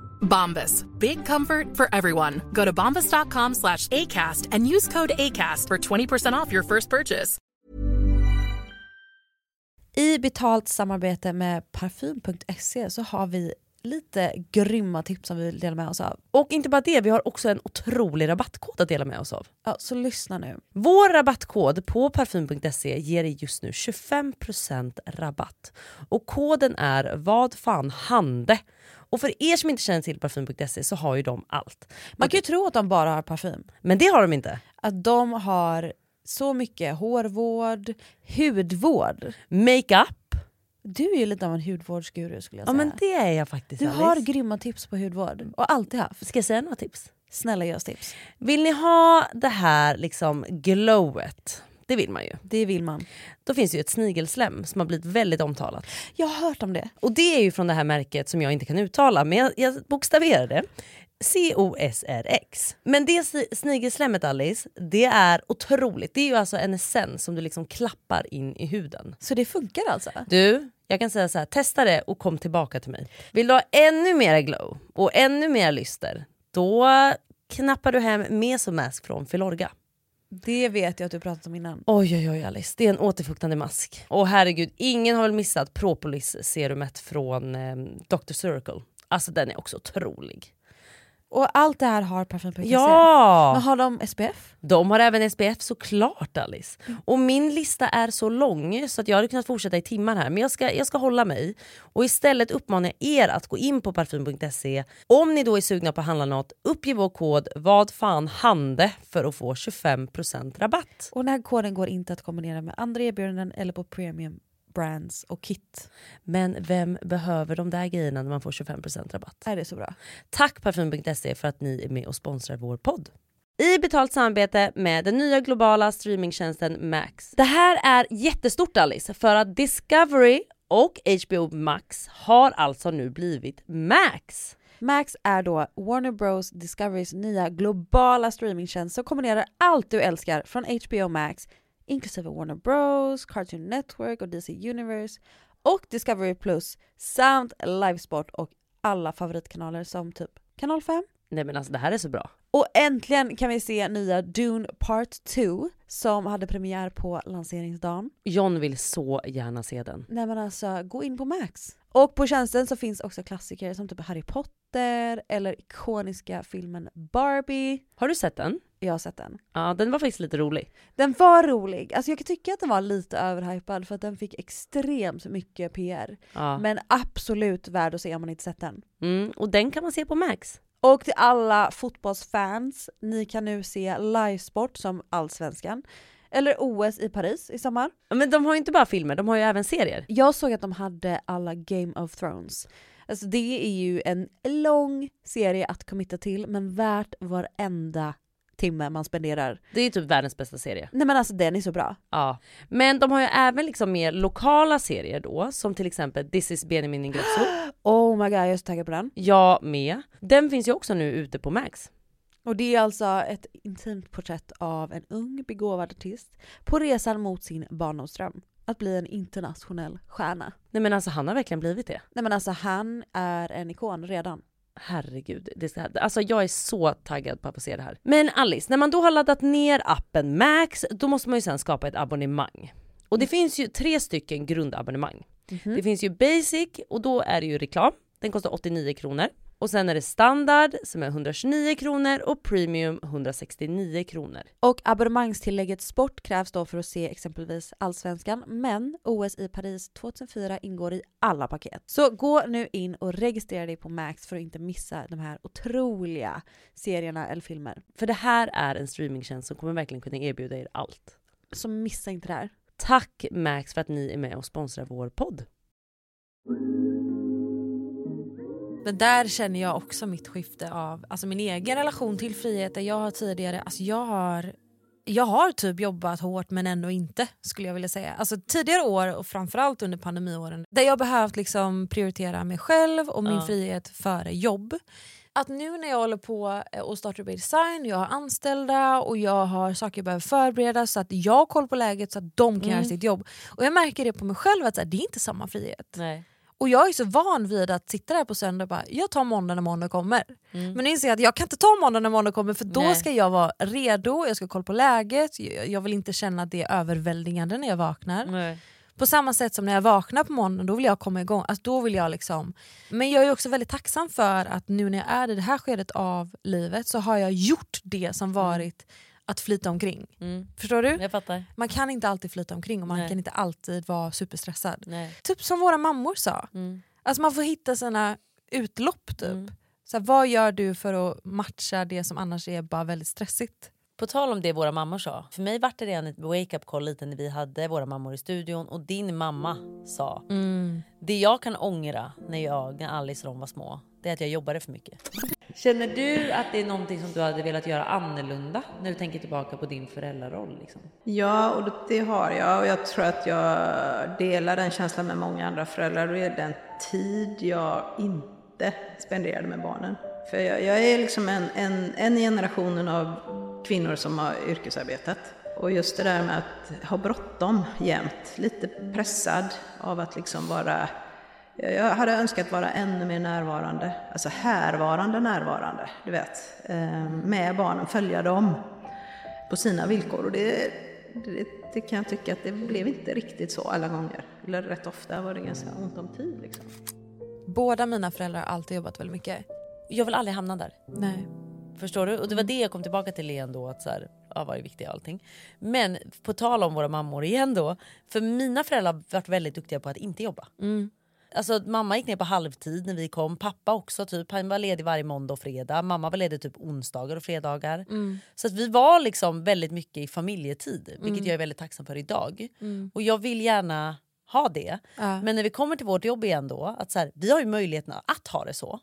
E: Bombas. Big comfort for everyone. Go to bombas.com slash ACAST and use code ACAST for 20% off your first purchase.
B: I betalt samarbete med parfym.se så har vi lite grymma tips som vi vill dela med oss av.
A: Och inte bara det, vi har också en otrolig rabattkod att dela med oss av.
B: Ja, så lyssna nu.
A: Vår rabattkod på parfym.se ger dig just nu 25% rabatt. Och koden är vad fan hande. Och för er som inte känner till parfym.se så har ju de allt.
B: Man kan ju tro att de bara har parfym.
A: Men det har de inte.
B: Att de har så mycket hårvård, hudvård.
A: Makeup.
B: Du är ju lite av en hudvårdsguru skulle jag
A: Ja
B: säga.
A: men det är jag faktiskt
B: du
A: Alice.
B: har grymma tips på hudvård och alltid haft.
A: Ska jag säga några tips?
B: Snälla ge oss tips.
A: Vill ni ha det här liksom glowet? Det vill man ju.
B: Det vill man.
A: Då finns det ju ett snigelslem som har blivit väldigt omtalat.
B: Jag har hört om det.
A: Och det är ju från det här märket som jag inte kan uttala, men jag, jag bokstaverar det. COSRX. Men det si- snigelslemmet Alice, det är otroligt. Det är ju alltså en essens som du liksom klappar in i huden.
B: Så det funkar alltså?
A: Du, jag kan säga så här, testa det och kom tillbaka till mig. Vill du ha ännu mer glow och ännu mer lyster, då knappar du hem Mesomask från Filorga.
B: Det vet jag att du pratat om innan.
A: Oj, oj, oj Alice, det är en återfuktande mask. Och herregud, ingen har väl missat Propolis-serumet från eh, Dr. Circle. Alltså den är också otrolig.
B: Och allt det här har parfym.se? Men
A: Ja!
B: har de SPF?
A: De har även SPF såklart Alice. Och min lista är så lång så att jag hade kunnat fortsätta i timmar här. Men jag ska, jag ska hålla mig. Och istället uppmanar jag er att gå in på parfym.se. Om ni då är sugna på att handla något, uppge vår kod vad fan hande för att få 25% rabatt.
B: Och den här koden går inte att kombinera med andra erbjudanden eller på premium brands och kit.
A: Men vem behöver de där grejerna när man får 25% rabatt?
B: Är det så bra?
A: Tack Parfym.se för att ni är med och sponsrar vår podd. I betalt samarbete med den nya globala streamingtjänsten Max. Det här är jättestort Alice, för att Discovery och HBO Max har alltså nu blivit Max.
B: Max är då Warner Bros Discoverys nya globala streamingtjänst som kombinerar allt du älskar från HBO Max inklusive Warner Bros, Cartoon Network och DC Universe och Discovery Plus samt Livesport och alla favoritkanaler som typ Kanal 5.
A: Nej men alltså det här är så bra.
B: Och äntligen kan vi se nya Dune Part 2 som hade premiär på lanseringsdagen.
A: John vill så gärna se den.
B: Nej men alltså, gå in på Max. Och på tjänsten så finns också klassiker som typ Harry Potter Potter eller ikoniska filmen Barbie.
A: Har du sett den?
B: Jag har sett den.
A: Ja, den var faktiskt lite rolig.
B: Den var rolig. Alltså jag kan tycka att den var lite överhypad för att den fick extremt mycket PR.
A: Ja.
B: Men absolut värd att se om man inte sett den.
A: Mm, och den kan man se på Max.
B: Och till alla fotbollsfans, ni kan nu se livesport som Allsvenskan. Eller OS i Paris i sommar.
A: Ja, Men de har ju inte bara filmer, de har ju även serier.
B: Jag såg att de hade alla Game of Thrones. Alltså det är ju en lång serie att committa till men värt varenda timme man spenderar.
A: Det är ju typ världens bästa serie.
B: Nej men alltså den är så bra.
A: Ja. Men de har ju även liksom mer lokala serier då, som till exempel This is Benjamin Ingrosso.
B: Oh my god jag är så taggad på den.
A: Jag med. Den finns ju också nu ute på Max.
B: Och det är alltså ett intimt porträtt av en ung begåvad artist på resan mot sin barndomsdröm. Att bli en internationell stjärna.
A: Nej men alltså han har verkligen blivit det.
B: Nej men alltså han är en ikon redan.
A: Herregud, det ska, alltså jag är så taggad på att få se det här. Men Alice, när man då har laddat ner appen Max, då måste man ju sen skapa ett abonnemang. Och det finns ju tre stycken grundabonnemang. Det finns ju Basic och då är det ju reklam. Den kostar 89 kronor. Och sen är det Standard som är 129 kronor och Premium 169 kronor.
B: Och abonnemangstillägget Sport krävs då för att se exempelvis Allsvenskan, men OS i Paris 2004 ingår i alla paket. Så gå nu in och registrera dig på Max för att inte missa de här otroliga serierna eller filmer.
A: För det här är en streamingtjänst som kommer verkligen kunna erbjuda er allt.
B: Så missa inte det här.
A: Tack Max för att ni är med och sponsrar vår podd.
F: Men där känner jag också mitt skifte av alltså min egen relation till frihet. Där jag har tidigare, alltså jag har, jag har typ jobbat hårt men ändå inte skulle jag vilja säga. Alltså tidigare år och framförallt under pandemiåren där jag behövt liksom prioritera mig själv och min
A: Ja.
F: frihet före jobb. Att nu när jag håller på eh, och startar upp i design, jag har anställda och jag har saker jag behöver förbereda så att jag har koll på läget så att de kan göra
A: Mm.
F: sitt jobb. Och jag märker det på mig själv att så här, det är inte samma frihet.
A: Nej.
F: Och jag är så van vid att sitta där på söndag och bara, jag tar måndag när måndag kommer. Men nu inser jag att jag kan inte ta måndag när måndag kommer för då
A: Nej.
F: ska jag vara redo, jag ska kolla på läget, jag, jag vill inte känna att det är överväldigande när jag vaknar.
A: Nej.
F: På samma sätt som när jag vaknar på måndagen, då vill jag komma igång. Alltså, då vill jag liksom. Men jag är också väldigt tacksam för att nu när jag är i det här skedet av livet så har jag gjort det som varit att flyta omkring.
A: Mm.
F: Förstår du?
A: Jag fattar.
F: Man kan inte alltid flyta omkring och man
A: Nej.
F: kan inte alltid vara superstressad.
A: Nej.
F: Typ som våra mammor sa.
A: Mm.
F: Alltså man får hitta sina utlopp typ.
A: Mm.
F: Så här, vad gör du för att matcha det som annars är bara väldigt stressigt?
A: På tal om det våra mammor sa. För mig vart det redan ett wake-up call lite när vi hade våra mammor i studion och din mamma sa. Det jag kan ångra när jag, när Alice och de var små, det är att jag jobbade för mycket. Känner du att det är någonting som du hade velat göra annorlunda när du tänker tillbaka på din föräldraroll? Liksom?
G: Ja, och det har jag och jag tror att jag delar den känslan med många andra föräldrar. Det är den tid jag inte spenderade med barnen. För jag, jag är liksom en, en, en i generationen av kvinnor som har yrkesarbetat. Och just det där med att ha bråttom jämt, lite pressad av att liksom vara jag jag hade önskat vara ännu mer närvarande, alltså härvarande närvarande, du vet. Eh, Med barnen, följa dem på sina villkor. Och det, det, det kan jag tycka att det blev inte riktigt så alla gånger. Eller rätt ofta var det ganska ont om tid. Liksom.
F: Båda mina föräldrar har alltid jobbat väldigt mycket.
A: Jag vill aldrig hamna där.
F: Nej.
A: Förstår du? Och det var det jag kom tillbaka till igen då. Att så här, ja, vad är viktigt och allting. Men på tal om våra mammor igen då. För mina föräldrar har varit väldigt duktiga på att inte jobba. Alltså att mamma gick ner på halvtid när vi kom. Pappa också typ. Han var ledig varje måndag och fredag. Mamma var ledig typ onsdagar och fredagar. Så att vi var liksom väldigt mycket i familjetid. Vilket jag är väldigt tacksam för idag. Och jag vill gärna ha det.
F: Ja.
A: Men när vi kommer till vårt jobb igen då. Att så här, vi har ju möjligheten att ha det så.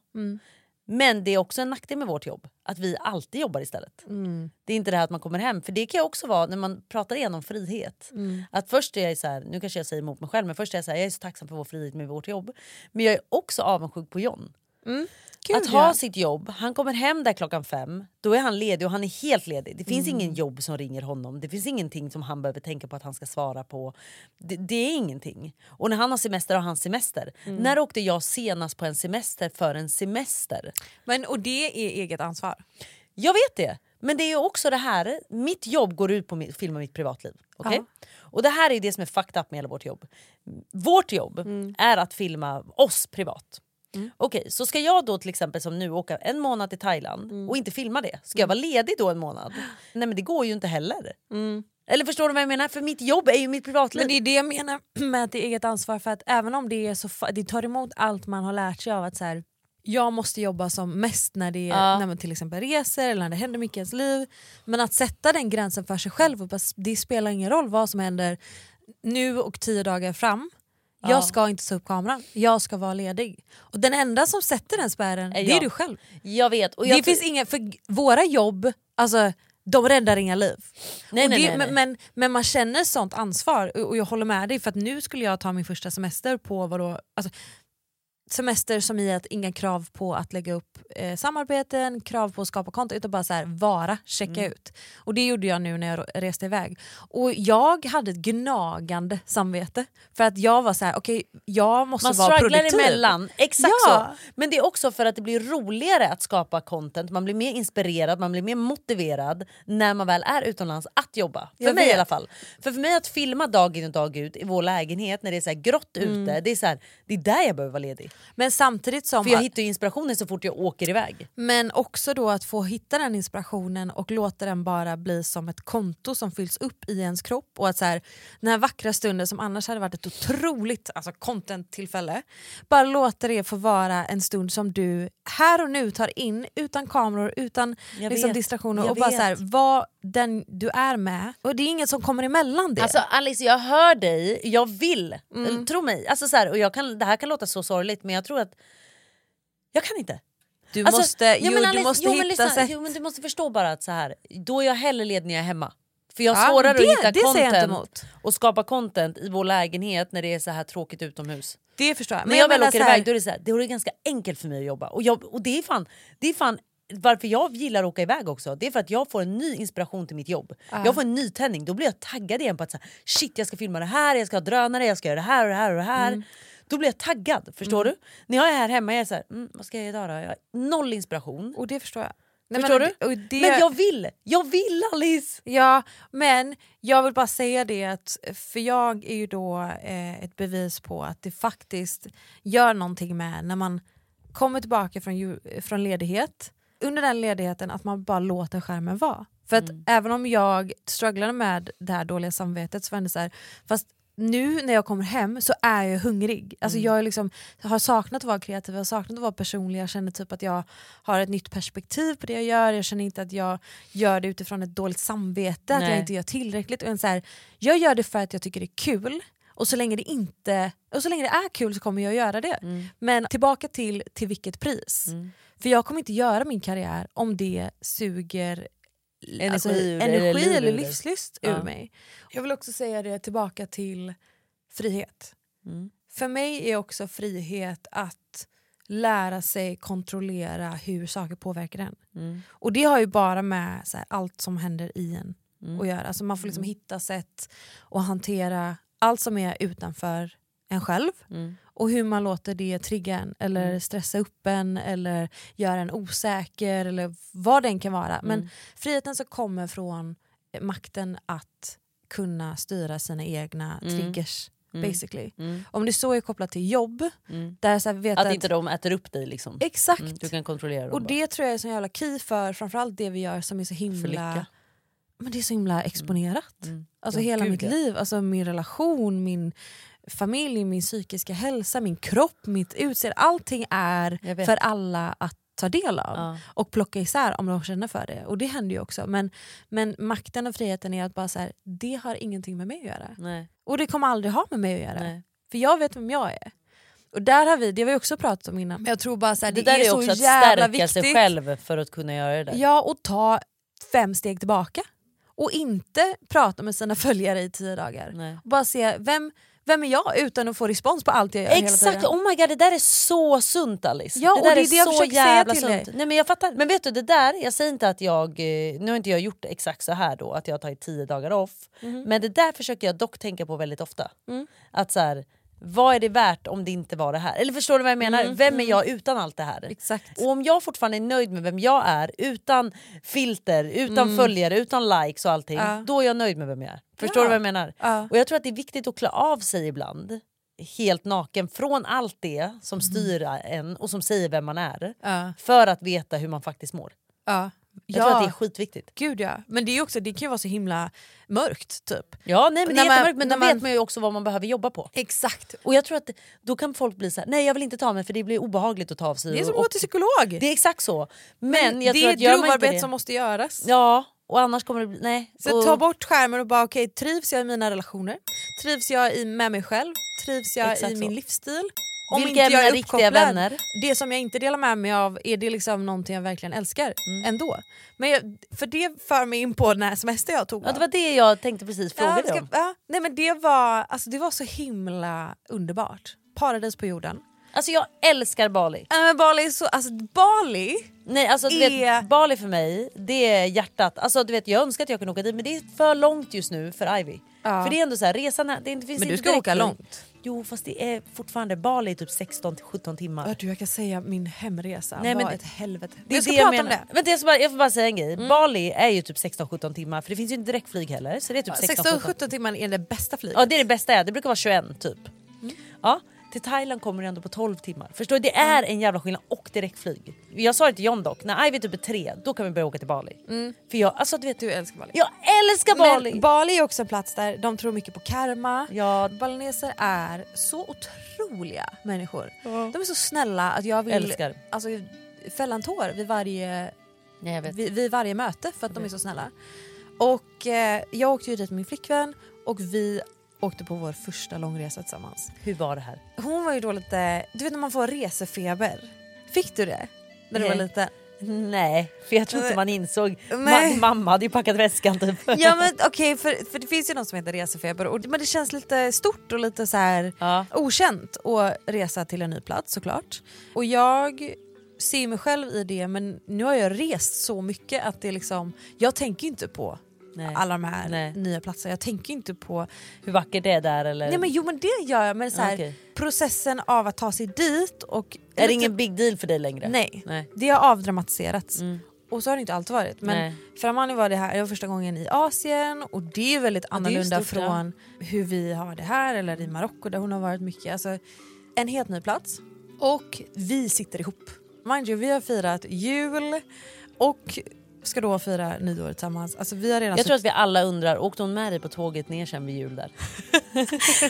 A: Men det är också en nackdel med vårt jobb, att vi alltid jobbar istället.
F: Mm.
A: Det är inte det här att man kommer hem, för det kan ju också vara när man pratar igenom frihet.
F: Mm.
A: Att först är jag så här, nu kanske jag säger emot mig själv, men först är jag så här, jag är så tacksam för vår frihet med vårt jobb. Men jag är också avundsjuk på John.
F: Gud,
A: att ha
F: ja.
A: sitt jobb, han kommer hem där klockan fem, då är han ledig och han är helt ledig. Det finns
F: Mm.
A: ingen jobb som ringer honom, det finns ingenting som han behöver tänka på att han ska svara på. Det, det är ingenting. Och när han har semester har han semester.
F: Mm.
A: När åkte jag senast på en semester för en semester?
F: Men, och det är eget ansvar.
A: Jag vet det. Men det är ju också det här, mitt jobb går ut på att filma mitt privatliv. okej? Och det
B: Mm.
A: här är ju det som är fucked up med hela vårt jobb. Vårt jobb är att filma oss privat. Okej, så ska jag då till exempel som nu åka en månad till Thailand
B: Mm.
A: och inte filma det? Ska jag vara ledig då en månad? Nej men det går ju inte heller. Eller förstår du vad jag menar? För mitt jobb är ju mitt privatliv.
B: Mm. Men det är det jag menar med att det är eget ansvar för att även om det, är så fa- det tar emot allt man har lärt sig av att så här, jag måste jobba som mest när det är,
A: Ja.
B: när man till exempel reser eller när det händer mycket i ens liv. Men att sätta den gränsen för sig själv, och bara, s- det spelar ingen roll vad som händer nu och tio dagar fram.
A: Ja.
B: Jag ska inte ta upp kameran, jag ska vara ledig. Och den enda som sätter den spärren
A: Är
B: det är
A: jag.
B: du själv.
A: Jag vet. Eh, Och
B: det
A: jag
B: finns
A: tror-
B: inga, för g- våra jobb, alltså de räddar inga liv.
A: Nej,
B: Och
A: nej, nej,
B: det,
A: nej.
B: Men, men, men man känner sånt ansvar och och jag håller med dig för att nu skulle jag ta min första semester på vadå, alltså, semester som i att inga krav på att lägga upp eh, samarbeten, krav på att skapa konto utan bara så här, vara, checka
A: Mm.
B: ut. Och det gjorde jag nu när jag ro- reste iväg. Och jag hade ett gnagande samvete för att jag var så här: okej jag måste
A: Man
B: vara
A: strugglar
B: produktiv.
A: emellan. Exakt
B: Ja.
A: så. Men det är också för att det blir roligare att skapa content. Man blir mer inspirerad, man blir mer motiverad när man väl är utomlands att jobba. För
B: Jag
A: mig i
B: vet.
A: alla fall. För, för mig att filma dag in och dag ut i vår lägenhet när det är så här grått ute, det är, så här, det är där jag behöver vara ledig.
B: Mm. Men samtidigt som...
A: För jag hittar ju inspirationen så fort jag åker iväg.
B: Men också då att få hitta den inspirationen och låta den bara bli som ett konto som fylls upp i ens kropp. Och att så här, Den här vackra stunden som annars hade varit ett otroligt alltså, content-tillfälle, bara låta det få vara en stund som du här och nu tar in utan kameror, utan
A: Jag
B: liksom,
A: vet,
B: distraktioner.
A: jag
B: Och bara så här,
A: vet.
B: var den du är med. Och det är inget som kommer emellan det. Mm.
A: Alltså Alice, jag hör dig, jag vill. Tro mig. Alltså, så här, och jag kan, det här kan låta så sorgligt men jag tror att jag kan inte.
B: du
A: Alltså,
B: måste,
A: ja,
B: jo,
A: men
B: du
A: Alice,
B: måste
A: jo, men
B: hitta
A: lyssna,
B: sätt.
A: Jo, men du måste förstå bara att så här, då är jag hellre ledig när jag är hemma. För jag har
B: Ja,
A: svårare
B: det-
A: att hitta
B: det säger jag inte
A: content
B: emot.
A: och skapa content i vår lägenhet när det är så här tråkigt utomhus.
B: det förstår jag.
A: När jag, väl
B: menar
A: åker
B: så här-
A: iväg då är det så här, det är ganska enkelt för mig att jobba. Och, jag, och det, är fan, det är fan varför jag gillar att åka iväg också. Det är för att jag får en ny inspiration till mitt jobb. Jag får en ny tändning. Då blir jag taggad igen på att så här, shit jag ska filma det här, jag ska ha drönare, jag ska göra det här och det här och det här. Då blir jag taggad, förstår du? När jag är här hemma jag är så här, mm, vad ska jag göra idag då? Jag har noll inspiration.
B: Och det förstår jag.
A: Förstår
B: men,
A: du?
B: Och det,
A: Men jag vill! Jag vill Alice!
B: Ja, men jag vill bara säga det att för jag är ju då eh, ett bevis på att det faktiskt gör någonting med när man kommer tillbaka från, ju- från ledighet, under den ledigheten att man bara låter skärmen vara. För att även om jag strugglade med det här dåliga samvetet så var det så här, fast nu när jag kommer hem så är jag hungrig. Alltså Jag är liksom, har saknat att vara kreativ, jag har saknat att vara personlig, jag känner typ att jag har ett nytt perspektiv på det jag gör, jag känner inte att jag gör det utifrån ett dåligt samvete, att
A: Nej.
B: jag inte gör tillräckligt. Och en så här, jag gör det för att jag tycker det är kul och så länge det, inte, och så länge det är kul så kommer jag göra det.
A: Mm.
B: Men tillbaka till till vilket pris. För jag kommer inte göra min karriär om det suger
A: Energi
B: alltså,
A: ur det,
B: energi
A: eller liv
B: eller,
A: ur det.
B: livslust
A: Ja.
B: ur mig. Jag vill också säga det tillbaka till frihet.
A: Mm.
B: För mig är också frihet att lära sig kontrollera hur saker påverkar en.
A: Mm.
B: Och det har ju bara med så här, allt som händer i en att göra. Alltså, man får liksom
A: Mm.
B: hitta sätt att hantera allt som är utanför en själv
A: Mm.
B: och hur man låter det trigga en eller stressa upp en eller göra en osäker eller vad den kan vara.
A: Mm.
B: Men friheten som kommer från eh, makten att kunna styra sina egna
A: Mm.
B: triggers basically. Om det så är kopplat till jobb, där så här vet
A: Mm. Att inte de äter upp dig liksom.
B: Exakt.
A: Mm, du kan kontrollera dem
B: Och
A: bara.
B: det tror jag är en sån jävla key för framförallt det vi gör som är så
A: För lycka.
B: himla, men det är så himla exponerat. Alltså
A: Mm. Ja,
B: hela
A: gud,
B: mitt
A: ja.
B: liv, alltså min relation, min familj, min psykiska hälsa, min kropp, mitt utseende. Allting
A: Jag
B: är
A: vet.
B: för alla att ta del av
A: Ja.
B: och plocka isär om de känner för det. Och det händer ju också. Men, men makten och friheten är att bara så här, det har ingenting med mig att göra.
A: Nej.
B: Och det kommer aldrig ha med mig att göra.
A: Mm. Nej.
B: För jag vet vem jag är. Och där har vi, det har vi också pratat om innan. Men jag tror bara så här,
A: Det, där är, också
B: så
A: att
B: jävla
A: stärka
B: viktigt.
A: sig själv för att kunna göra det där.
B: Ja, och ta fem steg tillbaka. Och inte prata med sina följare i tio dagar.
A: Nej.
B: Och bara se, vem, vem är jag utan att få respons på allt jag gör hela
A: Exakt,
B: tiden?
A: oh my god det där är så sunt Alice.
B: Ja, och
A: där
B: det är det jag försöker säga till dig.
A: Nej, men jag fattar. Men vet du det där, jag säger inte att jag, eh, nu har inte jag gjort exakt så här då, att jag har tagit tio dagar off.
B: Mhm.
A: Men det där försöker jag dock tänka på väldigt ofta.
B: Mm.
A: Att så här, vad är det värt om det inte var det här? Eller förstår du vad jag menar? Vem är jag utan allt det här?
B: Mm, Exakt.
A: Och om jag fortfarande är nöjd med vem jag är utan filter, utan följare, utan likes och allting.
B: Mm. Ja.
A: Då är jag nöjd med vem jag är. Förstår
B: Ja.
A: du vad jag menar?
B: Ja.
A: Och jag tror att det är viktigt att klä av sig ibland. helt naken från allt det som
B: Mm.
A: styr en och som säger vem man är. För att veta hur man faktiskt mår.
B: Ja.
A: Jag tror att det är skitviktigt.
B: Gud ja. Men det, är ju också, det kan ju vara så himla mörkt typ.
A: Ja, nej, men det är
B: När man-
A: jättemörkt men då
B: när man-
A: vet man ju också vad man behöver jobba på.
B: Exakt.
A: Och jag tror att då kan folk bli så här, nej jag vill inte ta mig för det blir obehagligt att ta av sig.
B: Det är som att
A: och,
B: gå till psykolog.
A: Det är exakt så. Men, jag
B: det
A: tror
B: är
A: att
B: ett
A: gör man inte
B: grovarbete
A: det...
B: som måste göras.
A: Ja, och annars kommer det bli... Nej.
B: Så
A: och,
B: ta bort skärmen och bara okej, trivs jag i mina relationer? Trivs jag i, med mig själv? Trivs jag
A: Exakt
B: i
A: så.
B: min livsstil?
A: Vilka är mina riktiga
B: uppkopplad,
A: vänner?
B: Det som jag inte delar med mig av, är det liksom någonting jag verkligen älskar
A: Mm.
B: ändå? Men jag, för det för mig in på den här semester jag tog.
A: Ja, det var det jag tänkte precis fråga
B: Ja,
A: dig
B: ska-
A: om.
B: ja, nej men det var, alltså, det var så himla underbart. Paradis på jorden.
A: Alltså jag älskar Bali.
B: Nej, Äh, men Bali är så, alltså Bali
A: Nej, alltså, du
B: är-
A: vet, Bali för mig, det är hjärtat. Alltså, du vet, jag önskar att jag kunde åka dit men det är för långt just nu för Ivy.
B: Ja.
A: För det är ändå så här, resan är, det inte- finns
B: Men du
A: inte
B: ska
A: direkt
B: åka
A: lång-
B: långt.
A: Jo fast det är fortfarande, Bali är typ 16 till 17 timmar.
B: Ja, du, jag kan säga min hemresa
A: Nej,
B: var
A: men det-
B: ett helvete. Men
A: Det är
B: jag ska
A: det
B: prata
A: jag menar.
B: om det. Mm.
A: Vänta, jag, ska bara, jag får bara säga en grej. Bali är ju typ 16-17 timmar för det finns ju inte direktflyg heller. Så det är typ 16-17.
B: 16-17 timmar är det bästa flyget.
A: typ. Ja det är det bästa jag. det brukar vara 21 typ.
B: Mm.
A: Ja, till Thailand kommer du ändå på 12 timmar. Förstår du? Det är en jävla skillnad och direktflyg. Jag sa det till John dock, när Ivy typ är 3 då kan vi börja åka till Bali. För jag, alltså du vet,
B: Du Mm. älskar Bali.
A: jag älskar Bali!
B: Men Bali är också en plats där de tror mycket på karma.
A: ja,
B: Balineser är så otroliga människor. De är så snälla att jag vill
A: Älskar.
B: Alltså, fälla en tår vid varje,
A: nej, jag vet.
B: vid, vid varje möte för att de är så snälla. Och eh, jag åkte ju dit med min flickvän och vi åkte på vår första långresa tillsammans.
A: Hur var det här?
B: Hon var ju då lite, du vet när man får resefeber. Fick du det? När du var
A: Nej.
B: liten?
A: Nej, för jag tror inte man insåg.
B: Nej.
A: Ma- mamma hade ju packat väskan typ.
B: Ja men okej för, för det finns ju någon som heter resefeber och, men det känns lite stort och lite så här
A: Ja.
B: okänt att resa till en ny plats såklart. Och jag ser mig själv i det men nu har jag rest så mycket att det är liksom, jag tänker ju inte på
A: Nej.
B: alla de här
A: Nej.
B: nya platserna. Jag tänker ju inte på,
A: Hur vackert det är där eller?
B: nej men jo men det gör jag men så här,
A: Okej.
B: processen av att ta sig dit och...
A: är det ingen big deal för dig längre?
B: Nej.
A: Nej. Mm.
B: Det har avdramatiserats. Och så har det inte alltid varit.
A: Nej.
B: Men Framani var det här det var första gången i Asien och det är väldigt
A: det är ju
B: annorlunda
A: stort, ja.
B: från hur vi har det här eller i
A: Mm.
B: Marocko där hon har varit mycket. Alltså, en helt ny plats och vi sitter ihop. Mind you, vi har firat jul och ska då fira nyår tillsammans. Alltså, vi har redan
A: Jag tror att vi alla undrar, åkte hon med dig på tåget ner sen vid jul där?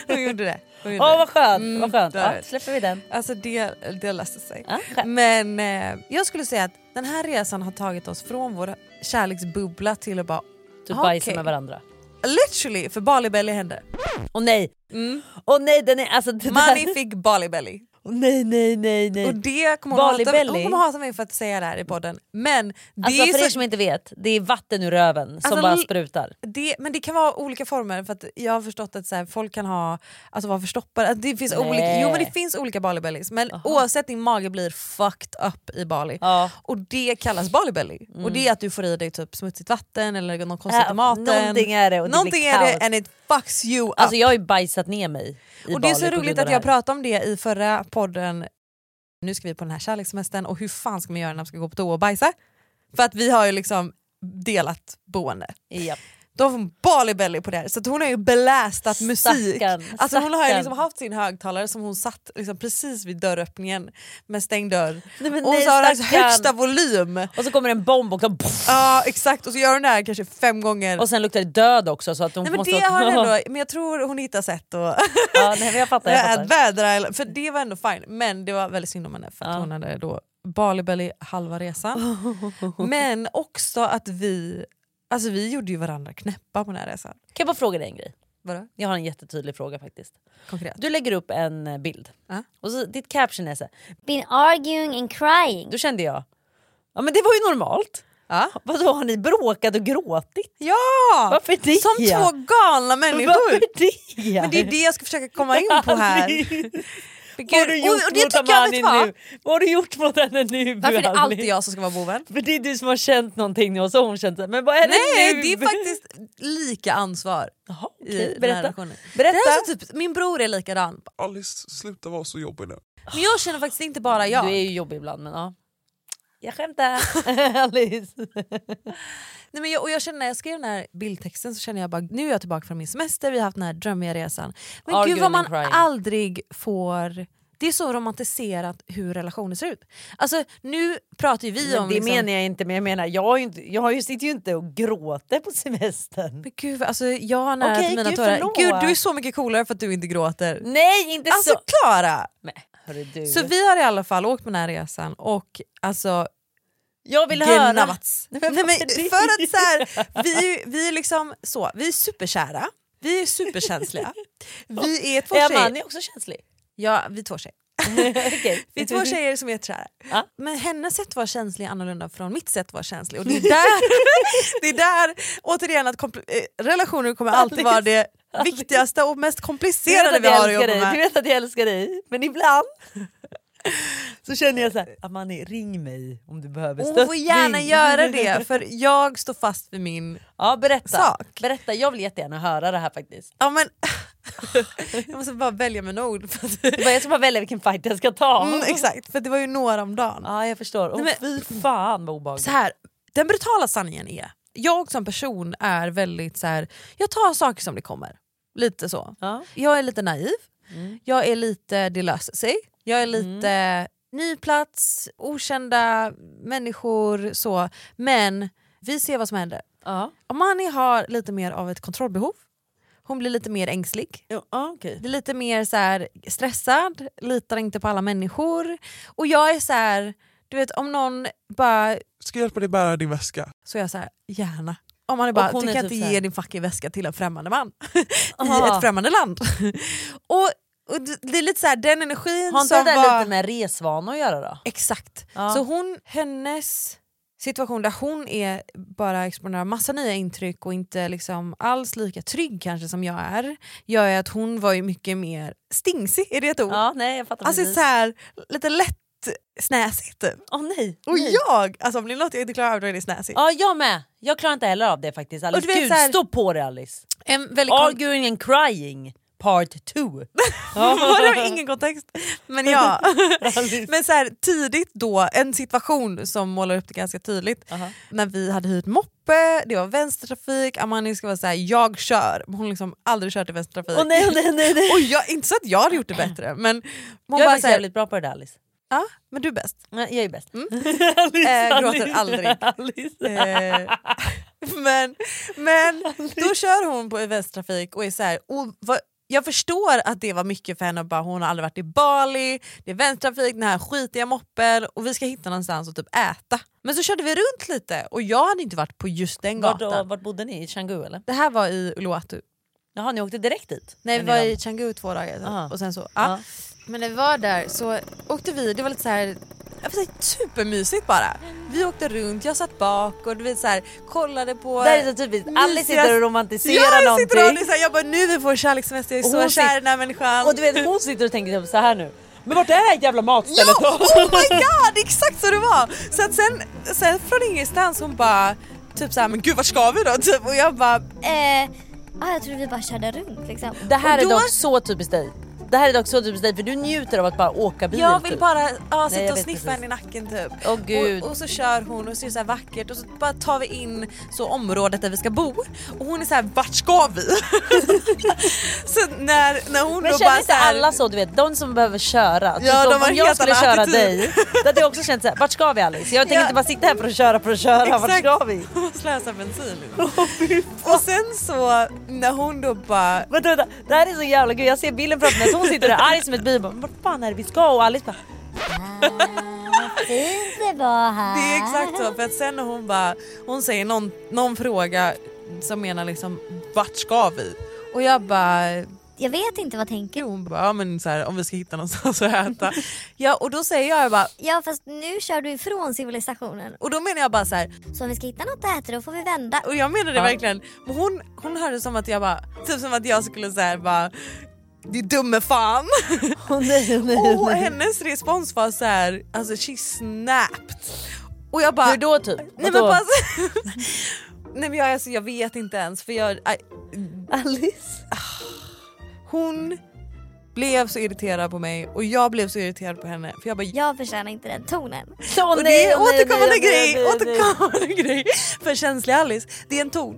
B: hon gjorde det. Hon gjorde
A: Åh
B: det.
A: vad skönt!
B: Mm,
A: vad skönt.
B: det har
A: Ja,
B: det.
A: släpper vi den.
B: Alltså det, det löste sig.
A: Ja, skönt.
B: Men eh, jag skulle säga att den här resan har tagit oss från vår kärleksbubbla till att bara...
A: Typ
B: ah,
A: bajsa
B: okej.
A: med varandra.
B: Literally, för Bali Belly hände.
A: Åh nej! Åh nej den är alltså... Det
B: Mani
A: där.
B: "Ah, fick Bali Belly.
A: Åh, nej nej nej nej.
B: Och det kommer
A: Bali
B: hon, hata,
A: Belly?
B: hon kommer hata mig för att säga det här i podden. Men det,
A: alltså
B: är
A: för er
B: så,
A: som inte vet, det är vatten ur röven som
B: Alltså,
A: bara
B: l-
A: sprutar.
B: det, men det kan vara olika former för att jag har förstått att så här, folk kan ha, alltså vara förstoppade. Att det finns
A: Nej.
B: olika, jo men det finns olika Bali Bellies men oavsett din mage blir fucked up i Bali.
A: Ja. Mm.
B: Och det kallas Bali Belly. Och det är att du får i dig typ smutsigt vatten eller någon konstigt
A: Ja,
B: i maten.
A: Äh, någonting är det och det blir
B: Någonting är det
A: kaos.
B: and it fucks you up.
A: Alltså jag har ju bajsat ner mig i
B: och det är så
A: Bali på grund
B: roligt
A: av
B: att
A: det
B: jag
A: här.
B: pratade om det i förra podden. Nu ska vi på den här kärlekssemestern och hur fan ska man göra när man ska gå på toa och bajsa? För att vi har ju liksom delat boende.
A: Japp.
B: De får Bali Belly på det här så att hon har ju belästat musik.
A: Stackarn,
B: Alltså hon har ju
A: stackarn.
B: liksom haft sin högtalare som hon satt liksom precis vid dörröppningen med stängd dörr.
A: Nej, men
B: och
A: nej,
B: så har hon
A: stackarn.
B: högsta volym.
A: Och så kommer en bomb och så pff,
B: Ja exakt och så gör hon det här kanske fem gånger.
A: och sen luktar det död också så att de
B: Nej, men
A: måste
B: det
A: åka-
B: har hon ändå, men jag tror hon hittar sätt att
A: ja, nej, men jag fattar, jag
B: att
A: fattar.
B: vädra, eller- för det var ändå fine. Men det var väldigt synd om henne för att
A: Ja.
B: hon hade då Bali Belly halva resan. men också att vi, alltså vi gjorde ju varandra knäppa på den här resan.
A: Kan jag bara fråga dig en grej?
B: Vadå?
A: Jag har en jättetydlig fråga faktiskt.
B: Konkret.
A: Du lägger upp en eh, bild
B: Ja.
A: och så, ditt caption är så här,
H: been arguing and crying.
A: då kände jag, ja men det var ju normalt.
B: Ja.
A: Vadå har ni bråkat och gråtit?
B: ja!
A: Varför det?
B: Som två galna människor!
A: Varför det?
B: Men det är det jag ska försöka komma in på här.
A: Vad har du gjort
B: Och- och det
A: mot
B: tycker jag vet
A: Amani
B: vad.
A: nu? Vad har du gjort mot henne nu?
B: Varför är det
A: Buhanni?
B: alltid jag som ska vara boven?
A: För det är du som har känt någonting nu och så har hon känt så här, men vad är
B: Nej,
A: det nu?
B: det är faktiskt lika ansvar.
A: Jaha, okej.
B: i den här
A: Berätta.
B: relationen.
A: Berätta.
B: Det här är så typ, min bror är likadan.
D: Alice, sluta vara så jobbig nu.
B: Men jag känner faktiskt inte bara jag.
A: Du är ju jobbig ibland men ja. Jag skämtar. Alice.
G: Nej, men jag, och jag känner när jag skrev den här bildtexten så känner jag bara nu är jag tillbaka från min semester, vi har haft den här drömmiga resan. Men
A: Arguing
G: gud vad man
A: and crying.
G: aldrig får... Det är så romantiserat hur relationer ser ut. Alltså nu pratar ju vi
A: Men
G: om... liksom-
A: det menar jag inte, men jag menar jag, har ju inte, jag har ju, sitter ju inte och gråter på semestern.
G: Men gud, alltså jag har nära
A: Okej,
G: till mina
A: gud,
G: tårar.
A: förlåt.
G: Gud du är så mycket coolare för att du inte gråter.
A: Nej inte
G: Alltså
A: så!
G: Klara!
A: Hörru, du.
G: Så vi har i alla fall åkt på den här resan och alltså
A: jag vill höra.
G: gnavats. Nej, men, för att så här, vi, är ju- vi är liksom så, vi är superkära, vi är superkänsliga. Vi är två
A: Är man
G: tjejer.
A: är också känslig?
G: Ja, vi är två tjejer.
A: Okej.
G: Vi är två tjejer som är kära.
A: Ja.
G: Men hennes sätt att vara känslig är annorlunda från mitt sätt att vara känslig. Och det är där, det är där återigen att kompl- eh, relationer kommer alltid vara det viktigaste och mest
A: Du vet,
G: komplicerade
A: att
G: vi
A: jag
G: har att jobba
A: älskar dig. du
G: med.
A: vet att jag älskar dig, men ibland så känner jag så här, Amani ring mig om du behöver
G: Hon får gärna
A: stöttning."
G: göra det för jag står fast vid min
A: Ja berätta.
G: Sak.
A: berätta, jag vill jättegärna höra det här faktiskt.
G: Ja, men... jag måste bara välja mina ord. För att...
A: Det var- Jag ska bara välja vilken fight jag ska ta.
G: mm, exakt, för det var ju några om dagen.
A: Ja jag förstår, Åh
G: Nej,
A: fy fan vad obehagligt.
G: Så här, den brutala sanningen är, jag som person är väldigt så här, jag tar saker som det kommer. Lite så.
A: Ja.
G: Jag är lite naiv, jag är lite det löser sig, jag är lite ny plats, okända människor, så. Men vi ser vad som händer.
A: Ja.
G: Amani har lite mer av ett kontrollbehov, hon blir lite mer ängslig.
A: Ja, ja, okej.
G: Det är lite mer så här, stressad, litar inte på alla människor. Och jag är så här, du vet om någon bara,
D: Ska jag hjälpa dig bära din väska?
G: så är jag så här, gärna. Om man är bara,
A: hon
G: du
A: är
G: kan
A: typ
G: inte
A: så här-
G: ge din fucking väska till en främmande man i
A: Aha.
G: ett främmande land. och, och det- det är lite så här, den energin
A: Har inte det
G: som
A: där
G: var... Mm.
A: lite med resvana att göra då?
G: Exakt.
A: Ja.
G: Så hon, hennes situation där hon är bara exponerad massa nya intryck och inte liksom alls lika trygg kanske som jag är, gör ju att hon var ju mycket mer stingsig, är det ett ord?
A: Ja nej jag fattar
G: Alltså
A: precis.
G: så här, lite lätt snäsigt typ.
A: Åh nej.
G: Och
A: nej.
G: jag, alltså om det är något jag inte klarar av då är det snäsigt.
A: Ja jag med, jag klarar inte heller av det faktiskt Alice.
G: Och du vet
A: Gud
G: så här- Liksom-
A: stå på det Alice.
G: En väldigt kon-
A: Arguing and crying part two.
G: Vadå ingen kontext? Men ja. Men så här, tidigt då, en situation som målar upp det ganska tydligt.
A: Aha.
G: När vi hade hyrt moppe, det var vänstertrafik, Amani ska vara så här, jag kör. Men Hon har liksom aldrig kört i vänstertrafik.
A: Åh nej, åh, nej, nej, nej.
G: Och jag, inte så att jag hade gjort det bättre men hon
A: jag är
G: bara
A: faktiskt
G: så här,
A: jävligt bra på det där Alice.
G: ja, men du är bäst.
A: Nej, Jag är bäst.
G: Mm. Eh,
A: Alice,
G: gråter aldrig.
A: Alice.
G: Eh, men, men då kör hon på i västtrafik och är så här, och vad, jag förstår att det var mycket för henne och bara hon har aldrig varit i Bali, det är vänstertrafik, den här skitiga moppen och vi ska hitta någonstans och typ äta. Men så körde vi runt lite och jag hade inte varit på just den
A: Vart, då,
G: gatan.
A: vart bodde ni? I Canggu eller?
G: Det här var i Uluwatu.
A: Jaha ni åkte direkt dit?
G: Nej
A: Är
G: vi
A: ni
G: var
A: van?
G: i Canggu två dagar
A: Aha.
G: och sen så. Ja.
A: Ja.
G: Men när vi var där så åkte vi, det var lite så här, jag får säga, supermysigt bara. Vi åkte runt, jag satt bak och du vet så här, kollade på...
A: Det här är så typiskt, Alice
G: mysiga-
A: sitter och romantiserar
G: jag sitter och
A: någonting.
G: det är så här, jag bara nu vi får kärlekssemester, jag är
A: Och
G: så
A: hon
G: kär i
A: sit-
G: den här människan.
A: Och du vet hon sitter och tänker typ så här nu. Men vart är det här jävla matstället
G: Ja! Oh my god! Exakt så det var! Så att sen, sen från ingenstans hon bara typ såhär men gud vart ska vi då? Typ, och jag bara
I: Eh, ah, jag trodde vi bara körde runt liksom.
A: Det här
G: Och
A: är
G: då-
A: dock så typiskt dig. Det här är dock så typiskt dig för du njuter av att bara åka bil.
G: jag vill
A: typ.
G: bara ja,
A: Nej,
G: sitta
A: jag
G: och
A: vet
G: sniffa
A: precis.
G: henne i nacken typ.
A: Åh, gud.
G: Och, och så kör hon och så är det så här vackert och så bara tar vi in så området där vi ska bo och hon är så här vart ska vi? så när, när hon
A: Men
G: då
A: känner
G: bara
A: inte
G: så här,
A: alla så? Du vet, de som behöver köra. Typ
G: Ja,
A: som
G: de har
A: om
G: helt
A: jag skulle
G: annan
A: köra
G: attityd.
A: dig, då hade jag också känt såhär, vart ska vi Alice? Jag tänker
G: Ja.
A: inte bara sitta här för att köra för att köra, vart
G: Exakt.
A: ska vi?
G: Hon slösar bensin. och sen så när hon då bara
A: Vänta, vänta, det här är så jävla kul. Jag ser bilden framför mig, så hon sitter där arg som ett bi och bara, vart fan är det vi ska? Och Alice bara,
I: Ah, Fint det var här.
G: Det är exakt så, för att sen när hon bara, hon säger någon, någon fråga som menar liksom vart ska vi? Och jag bara,
I: Jag vet inte vad tänker
G: hon bara, ja men så här, om vi ska hitta någonstans att äta. ja och då säger jag bara,
I: Ja fast nu kör du ifrån civilisationen.
G: och då menar jag bara så här,
I: Så om vi ska hitta något att äta då får vi vända.
G: och jag menar det verkligen, men hon, hon hörde som att jag bara, typ som att jag skulle säga bara, du dumme fan.
A: åh nej, åh nej, åh
G: Och
A: nej.
G: hennes respons var så här, alltså she snapped. Och jag bara,
A: Hur då typ?
G: Nej men
A: Vadå?
G: bara... Nej men jag, alltså, jag vet inte ens för jag... aj,
A: Alice?
G: hon
B: Ah. blev så irriterad på mig och jag blev så irriterad på henne för jag bara
H: Jag förtjänar inte den tonen.
B: Så och det
H: nej,
B: är en
H: och nej, nej,
B: återkommande
H: nej,
B: grej,
H: nej, nej.
B: återkommande grej för känsliga Alice. Det är en ton.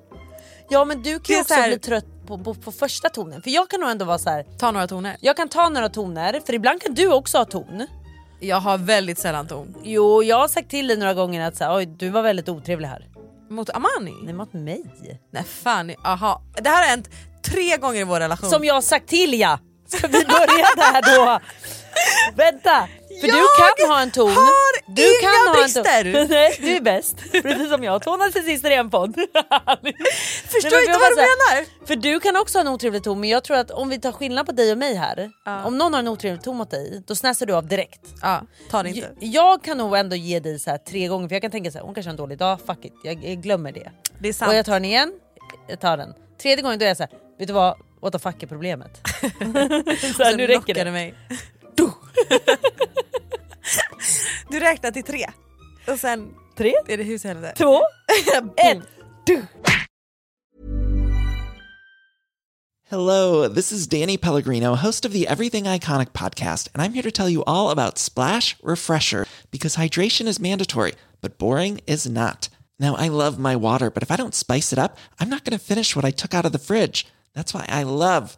A: Ja men du kan
B: Det är
A: ju också
B: så här-
A: bli trött på, på, på första tonen. För jag kan nog ändå vara så här.
B: Ta några toner.
A: Jag kan ta några toner, för ibland kan du också ha ton.
B: Jag har väldigt sällan ton.
A: Jo, jag har sagt till dig några gånger att så här, Oj, du var väldigt otrevlig här.
B: Mot Amani?
A: Nej, mot mig.
B: Nej fan, aha. Det här har hänt tre gånger i vår relation.
A: Som jag har sagt till ja! Ska vi börja där då? Vänta, för du
B: Jag
A: kan ha en ton.
B: har
A: du
B: inga
A: ton.
B: brister.
A: Nej, du är bäst. Precis som jag. Två narcissister i en podd.
B: Förstår
A: Nej, men
B: inte
A: jag
B: vad du
A: bara så här-
B: menar.
A: För du kan också ha en otrevlig ton men jag tror att om vi tar skillnad på dig och mig här. Om någon har en otrevlig ton mot dig då snäser du av direkt.
B: Ja, Ah, ta det inte.
A: J- Jag kan nog ändå ge dig så här tre gånger för jag kan tänka så här, hon kanske har en dålig dag, fuck it, jag, jag glömmer det.
B: Det är sant.
A: Och jag tar den igen, jag tar den. Tredje gången då är jag så här, vet du vad, what the fuck är problemet? så här,
B: Sen
A: nu räcker
B: knockar
A: det.
B: du mig. Du räknar till tre. Och sen...
A: Tre?
B: Är det hus i helvete.
A: Två,
B: en.
G: Hello, this is Danny Pellegrino, host of the Everything Iconic podcast, and I'm here to tell you all about Splash Refresher because hydration is mandatory, but boring is not. Now, I love my water, but if I don't spice it up, I'm not going to finish what I took out of the fridge. That's why I love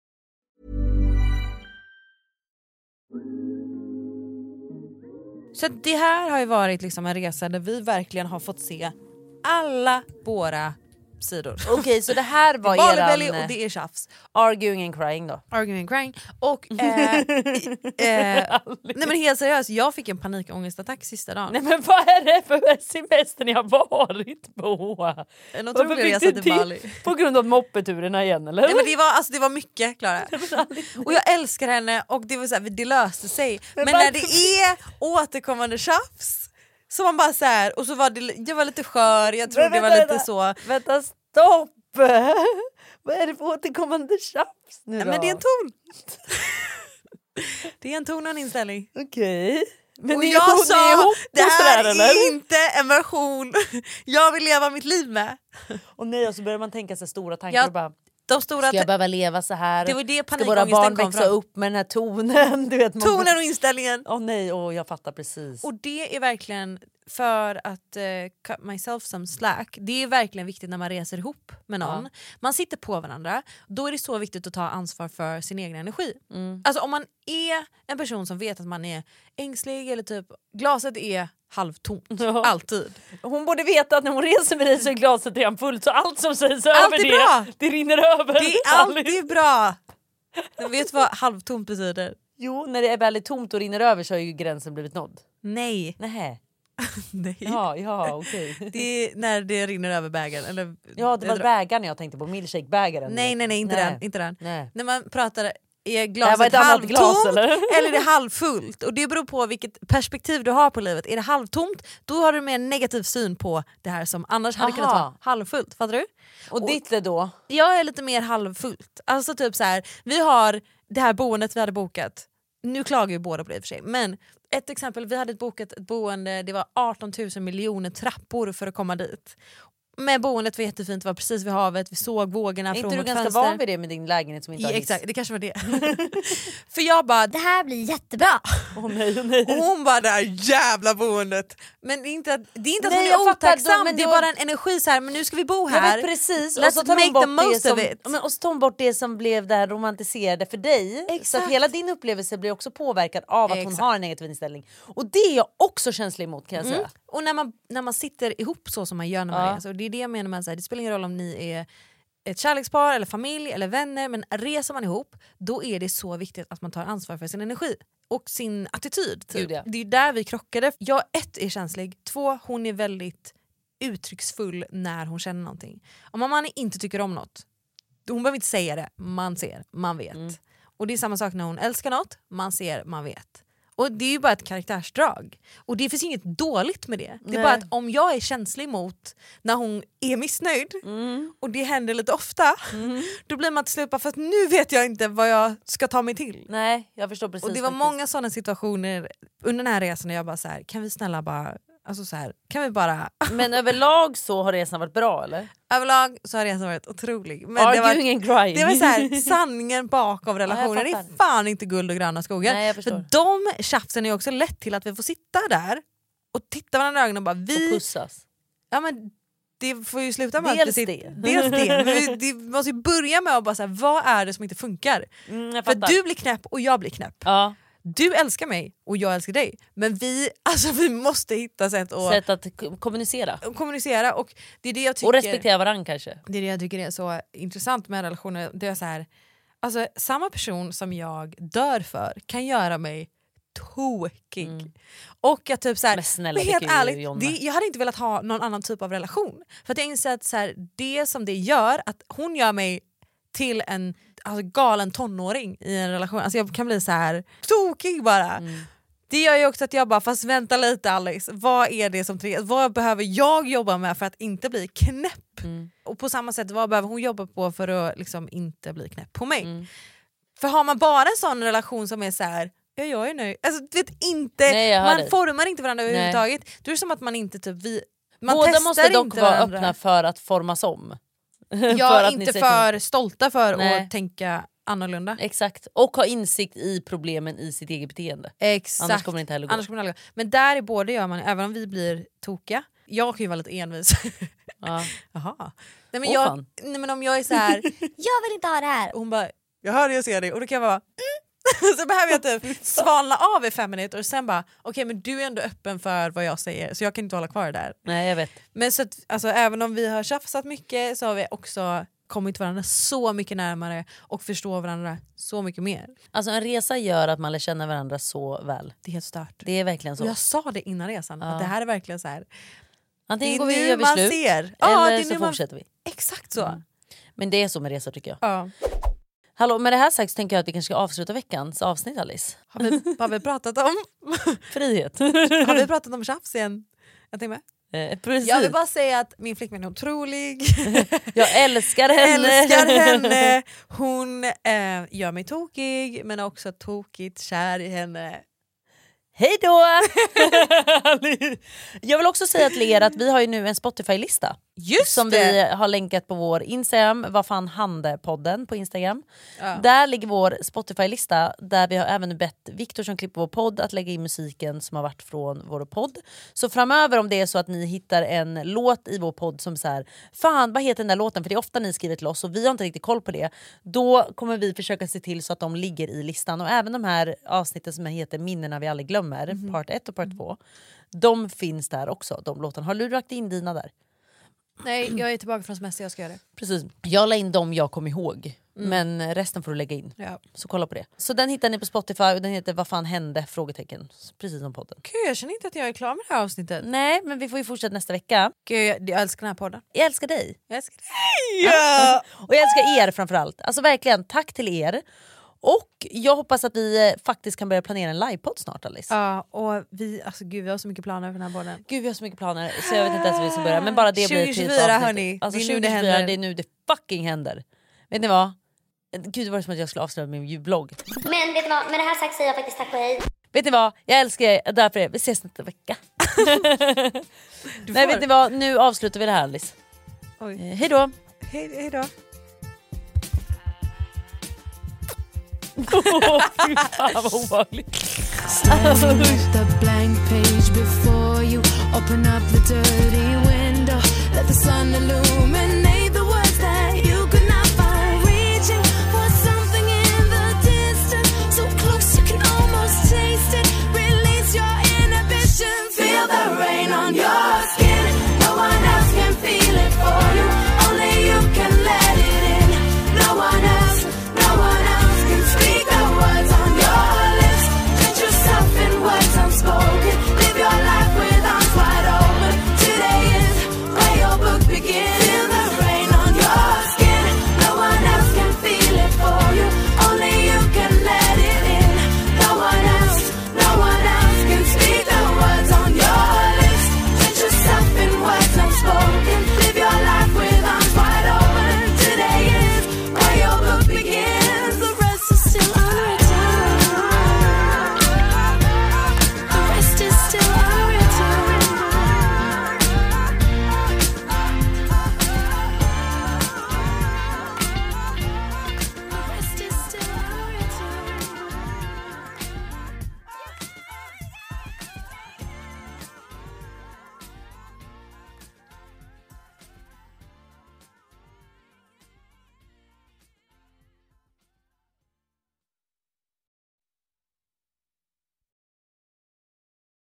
B: Så att det här har ju varit liksom en resa där vi verkligen har fått se alla våra sidor.
A: Okej så det här var
B: det är Balibelly
A: eran
B: och det är tjafs.
A: arguing and crying då.
B: Arguing and crying. Och, eh, eh, nej men helt seriöst, jag fick en panikångestattack sista dagen.
A: Nej men vad är det för semester ni har varit på?
B: En
A: Varför
B: otrolig
A: fick
B: Eh, resa
A: du
B: till
A: till-
B: Bali.
A: På grund av moppeturerna igen eller?
B: Nej, men det, var, alltså, det var mycket Klara. Och jag älskar henne och det, var så här, det löste sig. Men när det är återkommande tjafs så man bara så här, och så var det, jag var lite skör, jag tror
A: Men
B: det var
A: vänta,
B: lite så.
A: Vänta stopp! Vad är det för återkommande tjafs nu
B: Nej,
A: då?
B: men det är en ton. det är en ton och en inställning.
A: Okej. Men
B: och
A: ni är
B: jag
A: ihop- ni är
B: sa
A: ihop och
B: det här
A: sådär, eller?"
B: är inte en version jag vill leva mitt liv med.
A: Och nej, och så börjar man tänka sig stora tankar.
B: Ja,
A: och bara,
B: De stora
A: ska jag behöva leva så här?
B: Det var det
A: Ska våra barn
B: panikångesten kom
A: växa
B: från.
A: upp med den här tonen? Du vet, man-
B: Tonen och inställningen.
A: Åh nej, åh, jag fattar precis.
B: Och det är verkligen för att eh, cut myself some slack, det är verkligen viktigt när man reser ihop med någon.
A: Ja.
B: Man sitter på varandra, då är det så viktigt att ta ansvar för sin egen energi.
A: Mm.
B: Alltså om man är en person som vet att man är ängslig eller typ glaset är halvtomt, alltid.
A: Hon borde veta att när hon reser med dig så är glaset redan fullt så allt som sägs
B: Allt
A: över
B: är
A: det,
B: bra.
A: det rinner över.
B: Det är alltid bra! Men vet du vad halvtomt betyder?
A: Jo, när det är väldigt tomt och rinner över så har ju gränsen blivit nådd.
B: Nej.
A: Nej.
B: Nej.
A: Ja, ja, okej.
B: Det är när det rinner över bägaren. Eller,
A: Ja, det var bägaren jag tänkte på, milkshake-bägaren.
B: Nej, nej, nej, inte
A: Nej.
B: den. Inte den.
A: Nej.
B: När man pratar är
A: Det här var ett
B: glaset
A: annat
B: halvtomt
A: glas,
B: eller?
A: eller?
B: är det halvfullt? Och det beror på vilket perspektiv du har på livet. Är det halvtomt, då har du mer negativ syn på det här som annars hade kunnat
A: Aha.
B: vara halvfullt. Fattar du?
A: Och ditt är då?
B: Jag är lite mer halvfullt. Alltså typ så här, vi har det här boendet vi hade bokat. Nu klagar ju båda på det i och för sig, men ett exempel, vi hade bokat ett boende, det var 18 000 miljoner trappor för att komma dit. Men boendet var jättefint, det var precis vid havet, vi såg vågorna
A: Är
B: från
A: inte du
B: vårt
A: ganska
B: fönster.
A: van vid det med din lägenhet som inte har
B: Ja,
A: hiss?
B: exakt, det kanske var det. För jag bara,
H: Det här blir jättebra.
A: Åh nej, åh nej.
B: och hon bara det här jävla boendet. Men det är inte att, det är inte att
A: Nej,
B: hon
A: jag
B: är
A: fattar, då-
B: otacksam,
A: men
B: det är
A: då-
B: bara en energi så här, men nu ska vi
A: Jag
B: bo här.
A: vet precis.
B: Let's
A: Och så, tar
B: make
A: hon
B: the
A: bort det
B: most
A: som,
B: of it.
A: men, och så tar hon bort det som blev det här romantiserade för dig. Så
B: Exakt.
A: att hela din upplevelse blir också påverkad av att
B: Exakt.
A: hon har en negativ inställning. Och det är jag också känslig emot kan jag
B: Mm.
A: säga.
B: Och när man, när man sitter ihop så som man gör när man
A: Ja.
B: reser, och det är det jag menar med att det spelar ingen roll om ni är ett kärlekspar, eller familj eller vänner, men reser man ihop då är det så viktigt att man tar ansvar för sin energi och sin attityd. Typ.
A: Gud, ja.
B: Det är där vi krockade. Jag ett är känslig, två hon är väldigt uttrycksfull när hon känner någonting. Om man inte tycker om något, hon behöver inte säga det, man ser, man vet. Och det är samma sak när hon älskar något, man ser, man vet. Och Och det är ju bara ett karaktärsdrag. Och det finns inget dåligt med det. Det är
A: Nej.
B: bara att om jag är känslig mot när hon är missnöjd och det händer lite ofta, då blir man till slut bara fast nu vet jag inte vad jag ska ta mig till.
A: Nej, jag förstår precis.
B: och det var
A: faktiskt.
B: många sådana situationer under den här resan när jag bara så här, kan vi snälla bara, alltså så här, kan vi bara...
A: Men överlag så har resan varit bra eller?
B: Överlag så har resan varit otrolig. var,
A: Arguing and crying.
B: det var så här, sanningen bakom relationen det är
A: fattar.
B: fan inte guld och gröna skogar.
A: Nej, jag
B: För
A: förstår.
B: de tjafsen är också lett till att vi får sitta där och titta varandra i ögonen och bara vi...
A: Och pussas.
B: Ja, men det får ju sluta med
A: Dels
B: att vi sit-
A: det.
B: Dels det. Men vi, det måste ju börja med att bara så här, vad är det som inte funkar?
A: Mm, jag
B: För
A: fattar.
B: du blir knäpp och jag blir knäpp.
A: Ja.
B: Du älskar mig och jag älskar dig. Men vi, alltså, vi måste hitta sätt att
A: Sätt att k- kommunicera.
B: kommunicera och det är det jag tycker...
A: Och respektera varandra kanske.
B: Det är det jag tycker är så intressant med relationer. Det är så här, alltså, samma person som jag dör för kan göra mig tokig. Och jag typ så här,
A: Men snälla,
B: men
A: det
B: helt
A: kan ju
B: ärligt,
A: Jonna.
B: det, jag hade inte velat ha någon annan typ av relation. För att jag inser att så här, det som det gör, att hon gör mig till en alltså, galen tonåring i en relation. Alltså, jag kan bli så här tokig bara.
A: Mm.
B: Det gör ju också att jag bara, fast vänta lite Alex, vad är det som triggar? Vad behöver jag jobba med för att inte bli knäpp?
A: Mm.
B: Och på samma sätt, vad behöver hon jobba på för att liksom inte bli knäpp på mig?
A: Mm.
B: För har man bara en sån relation som är så här. Ja, jag är nöjd. Alltså, du vet inte,
A: Nej, jag hör
B: man
A: dig.
B: formar inte varandra
A: Nej.
B: överhuvudtaget. Då är det som att man inte typ... Vi, man
A: Båda
B: testar
A: måste dock
B: inte
A: vara
B: varandra.
A: öppna för att formas om.
B: Ja,
A: För att ni
B: inte
A: ska
B: för stolta för
A: Nej.
B: att tänka annorlunda.
A: Exakt. Och ha insikt i problemen i sitt eget beteende.
B: Exakt.
A: Annars kommer det inte heller gå.
B: Annars kommer det aldrig gå. Men där är både jag och man, även om vi blir tokiga. Jag kan ju vara lite envis.
A: Ja.
B: Jaha. Nej, men
A: Åh,
B: jag,
A: fan.
B: nej, men om jag är så här,
H: Jag vill inte ha det här.
B: och hon bara “jag hör dig, jag ser dig” och då kan jag bara mm. så behöver jag typ svalna av i fem minuter och sen bara “okej men du är ändå öppen för vad jag säger så jag kan inte hålla kvar det där”.
A: Nej jag vet.
B: Men så att, alltså, även om vi har tjafsat mycket så har vi också kommit varandra så mycket närmare och förstår varandra så mycket mer.
A: Alltså en resa gör att man lär känna varandra så väl.
B: Det är helt stört.
A: Det är verkligen så.
B: Och jag sa det innan resan, att det här är verkligen så här.
A: Antingen
B: det är
A: går vi
B: nu
A: och gör vi
B: man
A: slut
B: ser.
A: eller
B: Ja, det är nu
A: så
B: man-
A: fortsätter vi.
B: Exakt så.
A: Men det är så med resor tycker jag.
B: Ja.
A: Hallå, med det här sagt så tänker jag att vi kanske ska avsluta veckans avsnitt Alice.
B: Har, vi, har vi pratat om
A: Frihet.
B: Har vi pratat om tjafs igen? Jag tänker med.
A: Eh, Precis.
B: Jag
A: Jag,
B: vill bara säga att min flickvän är otrolig.
A: älskar
B: Jag
A: henne.
B: älskar henne. Hon eh, gör mig tokig men också tokigt kär i henne.
A: Hej då! jag vill också säga till er att vi har ju nu en Spotify-lista.
B: Just
A: som
B: det!
A: vi har länkat på vår Instagram, vad fan hande-podden på Instagram.
B: Ja.
A: Där ligger vår Spotify-lista där vi har även bett Viktor som klipper vår podd att lägga in musiken som har varit från vår podd. Så framöver om det är så att ni hittar en låt i vår podd som så här, fan vad heter den där låten? För det är ofta ni skriver till oss och vi har inte riktigt koll på det. Då kommer vi försöka se till så att de ligger i listan och även de här avsnitten som heter minnena vi aldrig glömmer,
B: Mhm.
A: part 1 och part
B: Mm.
A: 2. De finns där också, de låtarna. Har du lagt in dina där?
B: Nej, jag är tillbaka från semester, jag ska göra det. Mm.
A: Precis. Jag la in dem jag kom ihåg. Men resten får du lägga in.
B: Ja.
A: Så kolla på det. Så den hittar ni på Spotify och den heter Vad fan hände? Frågetecken. Precis som podden.
B: Gud, jag känner inte att jag är klar med det här avsnittet.
A: Nej men vi får ju fortsätta nästa vecka.
B: Gud, jag, jag älskar den här podden.
A: Jag älskar dig.
B: Jag älskar dig! Ja.
A: Och jag älskar er framförallt. Alltså verkligen, tack till er. Och jag hoppas att vi eh, faktiskt kan börja planera en livepodd snart Alice.
B: ja, och vi, alltså, gud, vi har så mycket planer för den här podden.
A: Gud vi har så mycket planer så jag vet inte ens hur vi ska börja. Men bara det blir ett helt
B: 2024,
A: avsnitt.
B: hörni.
A: Alltså,
B: Det är nu det
A: 2024,
B: händer.
A: det är nu det fucking händer. Vet ni vad? Gud det var som att jag skulle avslöja min julblogg.
H: Men vet du vad, med det här sagt säger jag faktiskt tack och hej.
A: Vet ni vad? Jag älskar er, därför är Vi ses nästa vecka. Nej,
B: får.
A: vet ni vad? Nu avslutar vi det här Alice.
B: Oj.
A: Eh, hej då!
B: Hej, hej då.
A: Fy fan vad obehagligt.
J: the blank page before you. Open up the dirty window. Let the sun illuminate.